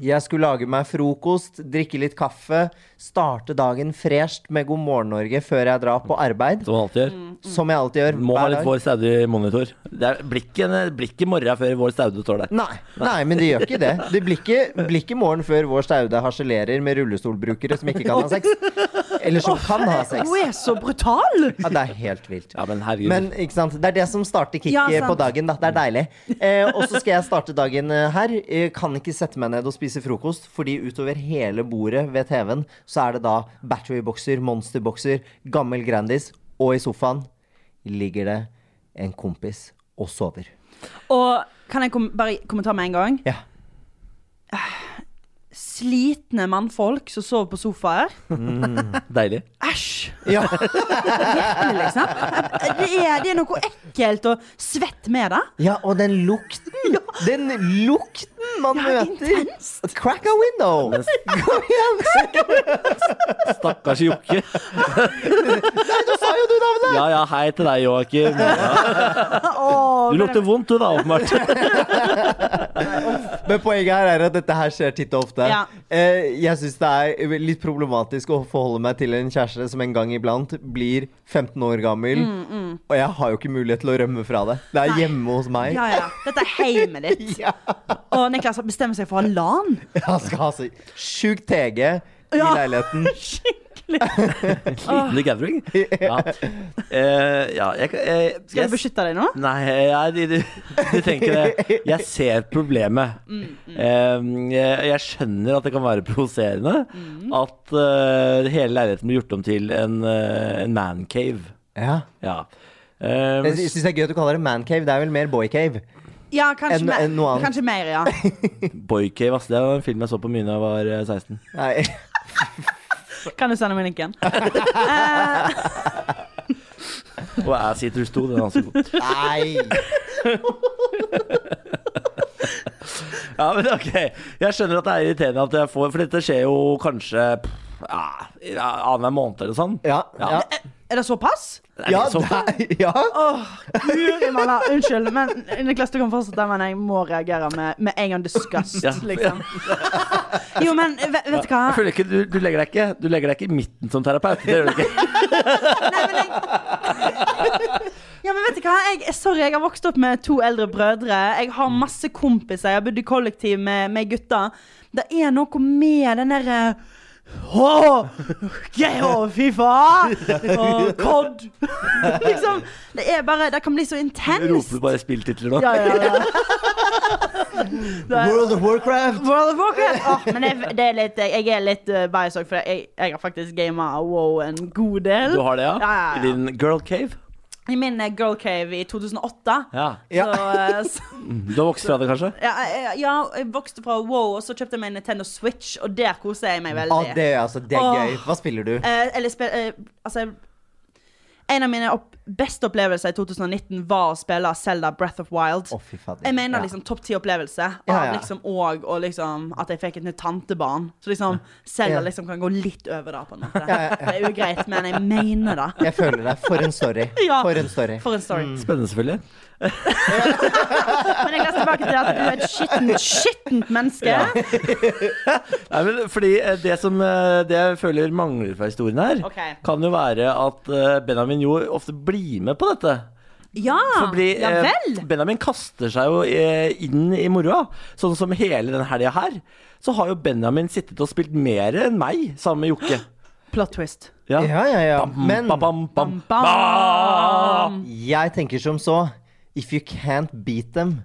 Speaker 2: Jeg skulle lage meg frokost, drikke litt kaffe, starte dagen fresht med God morgen Norge før jeg drar på arbeid.
Speaker 1: Som han alltid gjør.
Speaker 2: Som jeg alltid gjør.
Speaker 1: Må ha
Speaker 2: hver
Speaker 1: litt
Speaker 2: dag.
Speaker 1: vår staude monitor. Det er blikket, blikket morra før vår staude står der.
Speaker 2: Nei, nei, men det gjør ikke det. Det blir ikke, blir ikke morgen før vår staude harselerer med rullestolbrukere som ikke kan ha sex. Eller som kan ha sex.
Speaker 3: Hun er så brutal!
Speaker 2: Ja, det er helt vilt.
Speaker 1: Ja, men herregud.
Speaker 2: Men ikke sant? det er det som starter kicket
Speaker 3: Ja, sant.
Speaker 2: på dagen. Da. Det er deilig. Eh, og så skal jeg starte dagen eh, her. Eh, kan ikke sette meg ned og spise frokost, fordi utover hele bordet ved TV-en så er det da batterybokser, monsterbokser, gammel Grandis, og i sofaen ligger det en kompis og sover.
Speaker 3: Og kan jeg kom bare kommentere med en gang?
Speaker 2: Ja.
Speaker 3: Slitne mannfolk som sover på sofaer.
Speaker 1: Deilig.
Speaker 3: Æsj!
Speaker 1: [laughs]
Speaker 2: ja.
Speaker 3: Liksom. Det er, det er noe ekkelt og svett med det.
Speaker 2: Ja, og den lukten! Den lukten man møter!
Speaker 3: intenst.
Speaker 2: Crack a window!
Speaker 3: [laughs]
Speaker 2: Kom igjen!
Speaker 1: Stakkars Jokke.
Speaker 2: Nei, du sa jo du navnet!
Speaker 1: Ja ja, hei til deg, Joakim.
Speaker 3: Åh,
Speaker 1: Du lukter vondt du da, åpenbart.
Speaker 2: Men poenget her er at dette her skjer titt og ofte.
Speaker 3: Ja.
Speaker 2: Eh, jeg syns det er litt problematisk å forholde meg til en kjæreste som en gang iblant blir 15 år gammel, og jeg har jo ikke mulighet til å rømme fra det. Det er
Speaker 3: Mm, Nei.
Speaker 2: hjemme hos meg.
Speaker 3: Ja,
Speaker 2: [laughs]
Speaker 3: ja. Dette er heimet ditt.
Speaker 2: Ja.
Speaker 3: Og Niklas bestemmer seg for å ha LAN.
Speaker 2: Han skal ha så sjukt TG i
Speaker 3: Ja.
Speaker 2: leiligheten.
Speaker 1: Liten gathering. Ja. Eh, ja, jeg kan eh,
Speaker 3: Skal
Speaker 1: jeg-
Speaker 3: du beskytte deg nå?
Speaker 1: Nei, jeg, du, du, du tenker det. Jeg ser problemet. Eh, jeg, jeg skjønner at det kan være provoserende at eh, hele leiligheten blir gjort om til en, eh, en mancave.
Speaker 2: Ja.
Speaker 1: Ja. Eh,
Speaker 2: Jeg syns det er gøy at du kaller det mancave. Det er vel mer boycave.
Speaker 3: Ja, kanskje,
Speaker 2: En-
Speaker 3: mer-
Speaker 2: en noe annet.
Speaker 3: kanskje mer, ja.
Speaker 1: Boycave, ass. Det var en film jeg så på mye da jeg var eh, 16.
Speaker 2: Nei.
Speaker 3: Kan du sende meg linken?
Speaker 1: Og Ass Eaters 2, den er også god.
Speaker 2: [laughs] Nei!
Speaker 1: Ja, men ok. Jeg skjønner at det er irriterende at jeg får For dette skjer jo kanskje pff, ja, i- ja, annenhver måned eller sånn.
Speaker 2: Ja.
Speaker 1: Ja.
Speaker 2: Ja,
Speaker 3: Er det såpass?
Speaker 1: Det er
Speaker 2: ja,
Speaker 1: ikke så-
Speaker 2: det- ja.
Speaker 3: Åh, guri malla. Unnskyld. Men Niklas, du kan fortsette, men jeg må reagere med, med en gang disgust,
Speaker 1: Ja. [laughs]
Speaker 3: liksom. Jo, men ve- vet du hva?
Speaker 1: Jeg føler ikke, du, du, legger deg ikke, du legger deg ikke i midten som terapeut. Det gjør du ikke.
Speaker 3: [laughs] Nei, men jeg... Ja, men vet du hva? Jeg, sorry, jeg har vokst opp med to eldre brødre. Jeg har
Speaker 1: Mm.
Speaker 3: masse kompiser. Jeg har bodd i kollektiv med, med gutta. Det er noe med den derre Åh, okay, åh, Fifa!
Speaker 1: [laughs]
Speaker 3: Og COD! [laughs] liksom. Det er bare Det kan bli så
Speaker 1: Roper
Speaker 3: intenst.
Speaker 1: du bare spilltitler nå?
Speaker 3: Ja, ja,
Speaker 2: [laughs]
Speaker 3: ja. Det er-
Speaker 2: World of Warcraft.
Speaker 3: World of Warcraft! Åh, men jeg, det er litt, jeg er litt uh, bias òg, for jeg, jeg har faktisk gama WoW en god del.
Speaker 1: Du har det, ja?
Speaker 3: Ja, ja, ja.
Speaker 1: I din girl cave?
Speaker 3: I min eh, girl cave i 2008.
Speaker 1: Ja.
Speaker 2: Ja.
Speaker 3: Så, eh, så,
Speaker 1: Du har vokst fra det, kanskje?
Speaker 3: ja, jeg- ja, jeg vokste fra wow, og så kjøpte jeg meg en Nintendo Switch, og der koser jeg meg
Speaker 2: Ja,
Speaker 3: veldig.
Speaker 2: det, er altså, det er
Speaker 3: Åh.
Speaker 2: gøy. Hva spiller du?
Speaker 3: Eh, eller spil, eh, altså, en av mine opp, beste opplevelser i 2019 var å spille Zelda Breath of Wild.
Speaker 2: Å, fy fader.
Speaker 3: Jeg mener
Speaker 2: Ja.
Speaker 3: liksom topp ti opplevelse. Av
Speaker 2: Ja, ja.
Speaker 3: liksom og, og liksom at jeg fikk et nytt tantebarn. Så liksom Selda
Speaker 2: Ja.
Speaker 3: liksom kan gå litt over det, på en måte.
Speaker 2: ja, ja.
Speaker 3: Det er jo greit, men jeg mener det.
Speaker 2: Jeg føler deg. For en story.
Speaker 3: Ja.
Speaker 2: For en story.
Speaker 3: For en story.
Speaker 2: Mm.
Speaker 1: Spennende, selvfølgelig.
Speaker 3: Men jeg leser tilbake til at du er et skittent, skittent menneske.
Speaker 1: Nei, men fordi eh, Det som eh, det jeg føler mangler fra historien her,
Speaker 3: Ok.
Speaker 1: kan jo være at eh, Benjamin Jo ofte blir med på dette.
Speaker 3: Ja,
Speaker 1: Fordi
Speaker 3: Ah, ja
Speaker 1: eh,
Speaker 3: vel.
Speaker 1: Benjamin kaster seg jo eh, inn i moroa. Sånn som hele den helga her, så har jo Benjamin sittet og spilt mer enn meg sammen med Jokke.
Speaker 3: Plot twist.
Speaker 1: Ja.
Speaker 2: Ja, ja, ja.
Speaker 1: Bam,
Speaker 2: Men
Speaker 1: Mhm. bam, bam, bam.
Speaker 3: Bam, bam.
Speaker 2: jeg tenker som så If you can't beat them,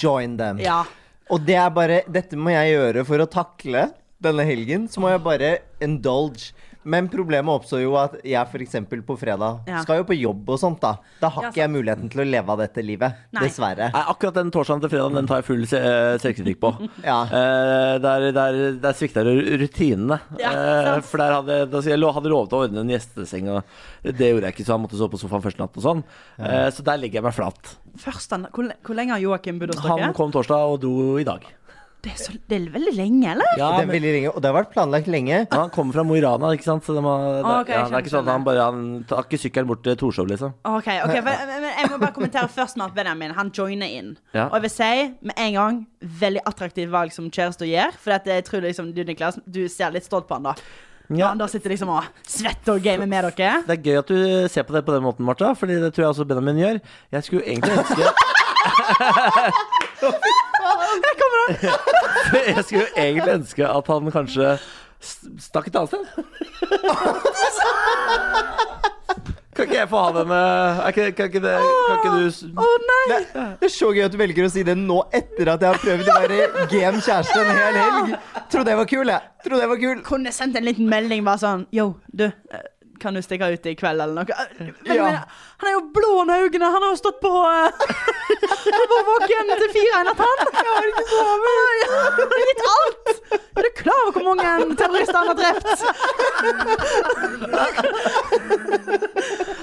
Speaker 2: join them.
Speaker 3: Ja.
Speaker 2: Og det er bare Dette må jeg gjøre for å takle denne helgen. Så må jeg bare indulge. Men problemet oppstår jo at jeg f.eks. på fredag
Speaker 3: Ja.
Speaker 2: skal jo på jobb og sånt, da. Da har
Speaker 3: Ja,
Speaker 2: ikke jeg muligheten til å leve av dette livet.
Speaker 3: Nei.
Speaker 2: Dessverre.
Speaker 1: Nei, akkurat den torsdagen til fredagen Den tar jeg full se- eh, selvkritikk
Speaker 3: [laughs]
Speaker 1: på.
Speaker 2: Ja.
Speaker 1: Eh, der, der, der svikta ru- rutinene.
Speaker 3: Ja,
Speaker 1: Eh,
Speaker 3: sant.
Speaker 1: for der hadde da, jeg lo- hadde lovet å ordne en gjesteseng, og det gjorde jeg ikke, så han måtte sove på sofaen første natt og sånn. Eh, så der ligger jeg meg flat.
Speaker 3: Først, han- hvor, le- hvor lenge har Joakim bodd hos dere?
Speaker 1: Han kom torsdag og dro i dag.
Speaker 3: Det, er så, det er veldig lenge, eller?
Speaker 1: Ja,
Speaker 2: Det er
Speaker 1: men,
Speaker 2: veldig lenge, og det har vært planlagt lenge.
Speaker 1: ja, han kommer fra Mo i Rana, ikke sant? Så det, må, det,
Speaker 3: Ah, ok,
Speaker 1: ja, det er ikke
Speaker 3: skjønner,
Speaker 1: sånn at han bare Han tar ikke sykkelen bort til Torshov, liksom.
Speaker 3: Ok, ok, for, men Jeg må bare kommentere først med at Benjamin han joiner inn.
Speaker 1: Ja.
Speaker 3: Og jeg vil si med en gang veldig attraktivt valg som kjæreste gjør. For at jeg tror liksom du Niklas, du ser litt stolt på han da.
Speaker 1: Ja.
Speaker 3: Han da sitter liksom og svetter og gamer med dere.
Speaker 1: Det er gøy at du ser på det på den måten, Martha, Fordi det tror jeg også Benjamin gjør. Jeg skulle egentlig
Speaker 3: [laughs]
Speaker 1: ønske [laughs] Jeg skulle jo egentlig ønske at han kanskje s- stakk et annet
Speaker 3: [laughs]
Speaker 1: sted. Kan ikke jeg få ha den eh, er ikke- Kan ikke, det, kan ikke du s-
Speaker 3: Å nei!
Speaker 2: Det, det er så gøy at du velger å si det nå etter at jeg har prøvd å være game kjæreste en hel helg. Trodde jeg var kul, jeg. Trodde jeg var kul.
Speaker 3: Kunne sendt en liten melding bare sånn Yo, du. eh, Kan du stikke ut i kveld, eller noe? Eh, Men,
Speaker 2: Ja.
Speaker 3: men, han er jo blå under øynene! Han har jo stått på eh, [laughs] Han var våken til fire i natt, han! Jeg har ikke sovet! Han har gitt alt! Er du klar over hvor mange terrorister han har drept? [laughs]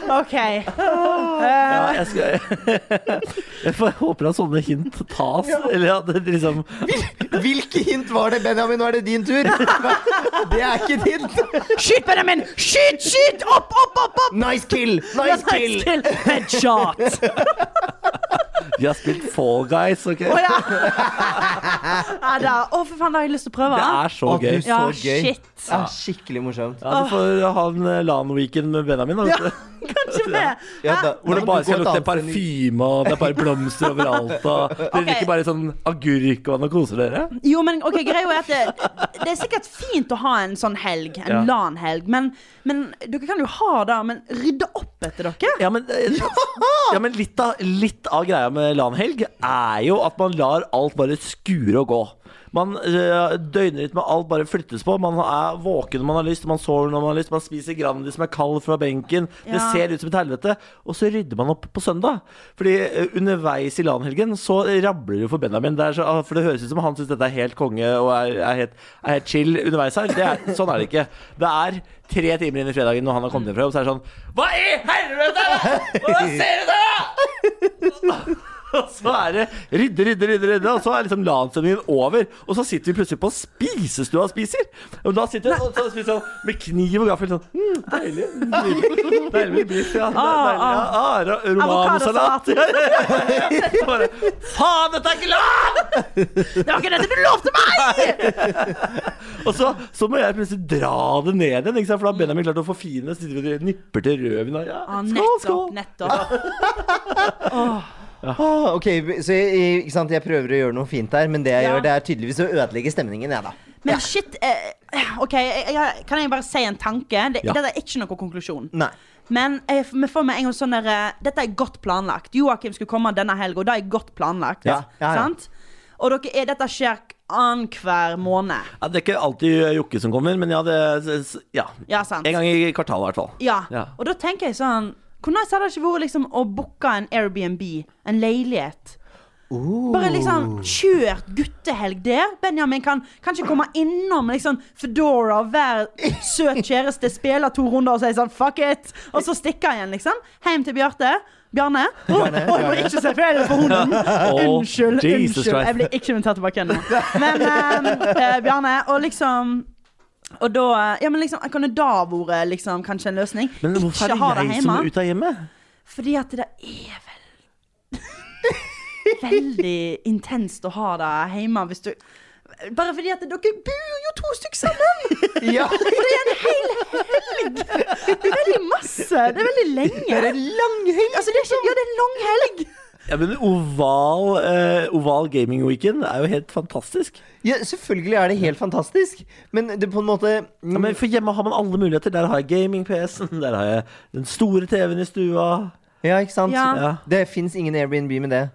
Speaker 3: OK. Eh,
Speaker 1: Ja, jeg, skal, [laughs] jeg får- jeg håper at sånne hint tas. Eller at det liksom
Speaker 2: Hvilke hint var det, Benjamin? Nå er det din tur. Det er ikke et hint.
Speaker 3: Skyt, Benjamin! Skyt, skyt! Opp, opp, opp! opp.
Speaker 2: Nice kill! Nice kill!
Speaker 3: Headshot!
Speaker 1: Vi har spilt Fall Guys, OK?
Speaker 3: Å
Speaker 1: Det
Speaker 3: ja! ja da. Å, for faen, det har jeg lyst til å prøve.
Speaker 1: er så
Speaker 2: Å, du
Speaker 1: gøy.
Speaker 2: s-
Speaker 3: ja,
Speaker 2: så gøy.
Speaker 3: shit.
Speaker 2: Ja, skikkelig morsomt.
Speaker 1: Ja, du får ha en eh, LAN-weekend med Benjamin. Da,
Speaker 3: Ja,
Speaker 1: vet du.
Speaker 2: [laughs]
Speaker 3: kanskje det.
Speaker 2: Ja, da,
Speaker 1: Hvor
Speaker 2: da
Speaker 1: det bare
Speaker 2: må du gå
Speaker 1: skal lukte
Speaker 2: et annet sted enn i-
Speaker 1: parfyme, og det er bare blomster overalt.
Speaker 2: [laughs]
Speaker 1: Og dere
Speaker 3: Ok.
Speaker 1: drikker bare sånn agurkvann og koser dere.
Speaker 3: Jo, men ok, greia er at det, det er sikkert fint å ha en sånn helg, en
Speaker 1: Ja.
Speaker 3: LAN-helg, men, men dere kan jo ha det, men rydde opp etter dere.
Speaker 1: Ja, men, eh, ja, men litt, av, litt av greia med LAN-helg er jo at man lar alt bare skure og gå. Man eh, døgner litt med alt bare flyttes på. Man er våken når man har lyst, man sover når man har lyst, man spiser Grandi som er kald fra benken. Det
Speaker 3: Ja.
Speaker 1: ser ut som et helvete. Og så rydder man opp på søndag. Fordi eh, underveis i LAN-helgen så rabler det for Benjamin. Det er så, ah, for det høres ut som han syns dette er helt konge og er, er, helt, er helt chill underveis her. Det er, sånn er det ikke. Det er tre timer inn i fredagen når han har kommet hjem fra jobb, så er det sånn Hva i helvete er det?! Hvordan ser du det?! Og så er det rydde, rydde, rydde, rydde og så er liksom LAN-sendingen over. Og så sitter vi plutselig på spisestua og spiser. Og da sitter vi og så spiser sånn med kniv og gaffel sånn mm, Deilig. Nydelig. Deilig biff, ja. Deilig, ja. Ah, ra- Romanosalat. Ja, ja, ja, ja. [laughs] Så bare, Faen, dette er ikke LAN!
Speaker 3: Det var ikke dette du lovte meg!
Speaker 1: Og så, så må jeg plutselig dra det ned igjen, ikke sant? for da har Benjamin klart å forfine det. Så Sitter vi og nipper til rødvin og ja, skål,
Speaker 3: Ja, Ah, nettopp,
Speaker 1: skål.
Speaker 3: nettopp.
Speaker 2: Ah, ok, så jeg, ikke sant, jeg prøver å gjøre noe fint her, men det jeg
Speaker 3: Ja.
Speaker 2: gjør, det er tydeligvis å ødelegge stemningen, jeg, da.
Speaker 3: Men shit, eh, ok, jeg, jeg, kan jeg bare si en tanke? Det,
Speaker 1: Ja.
Speaker 3: Dette er ikke noen konklusjon.
Speaker 2: Nei.
Speaker 3: Men jeg, f- vi får med en gang sånn der eh, Dette er godt planlagt. Joakim skulle komme denne helga, og det er godt planlagt.
Speaker 2: Ja, ja, ja.
Speaker 3: Sant? Og dere er, dette skjer annenhver måned.
Speaker 1: Ja, det er ikke alltid Jokke som kommer, men ja, det, s- s- ja.
Speaker 3: Ja, sant.
Speaker 1: en gang i kvartalet i hvert fall.
Speaker 3: Ja.
Speaker 1: Ja.
Speaker 3: Og da tenker jeg sånn Hvor nice hadde det ikke vært liksom, å booke en Airbnb? En leilighet? Bare liksom kjørt guttehelg der. Benjamin kan kanskje komme innom liksom Foodora og være søt kjæreste, spille to runder og si sånn fuck it, og så stikke igjen, liksom. Hjem til Bjarte. Bjarne.
Speaker 1: [laughs]
Speaker 3: Å, jeg må ikke se feil på hunden! Unnskyld.
Speaker 1: Jesus
Speaker 3: unnskyld.
Speaker 1: Christ.
Speaker 3: Jeg blir ikke invitert tilbake igjen nå. Men eh, eh, Bjarne, og liksom Og da eh, Ja, men liksom, kunne da vært liksom, kanskje en løsning?
Speaker 1: Men hvorfor
Speaker 3: ikke ha
Speaker 1: er
Speaker 3: det
Speaker 1: det jeg som
Speaker 3: hjemme.
Speaker 1: er ute av hjemmet?
Speaker 3: Fordi at det er vel Veldig intenst å ha det hjemme hvis du Bare
Speaker 1: [laughs]
Speaker 3: fordi at dere bor jo to stykker sammen!
Speaker 2: Ja.
Speaker 3: Og det er en hel helg! Det er veldig masse. Det er veldig lenge.
Speaker 2: Det er en lang helg!
Speaker 3: Altså, det er
Speaker 1: liksom.
Speaker 3: ikke, ja, det er en lang helg.
Speaker 1: Ja, men oval, eh, oval gaming weekend er jo helt fantastisk.
Speaker 2: Ja, selvfølgelig er det helt fantastisk, men det på en måte
Speaker 1: Ja, men For hjemme har man alle muligheter. Der har jeg gaming-PC-en, der har jeg den store TV-en i stua.
Speaker 2: Ja, ikke sant?
Speaker 3: Ja.
Speaker 1: Ja.
Speaker 2: Det fins ingen Airbnb med det.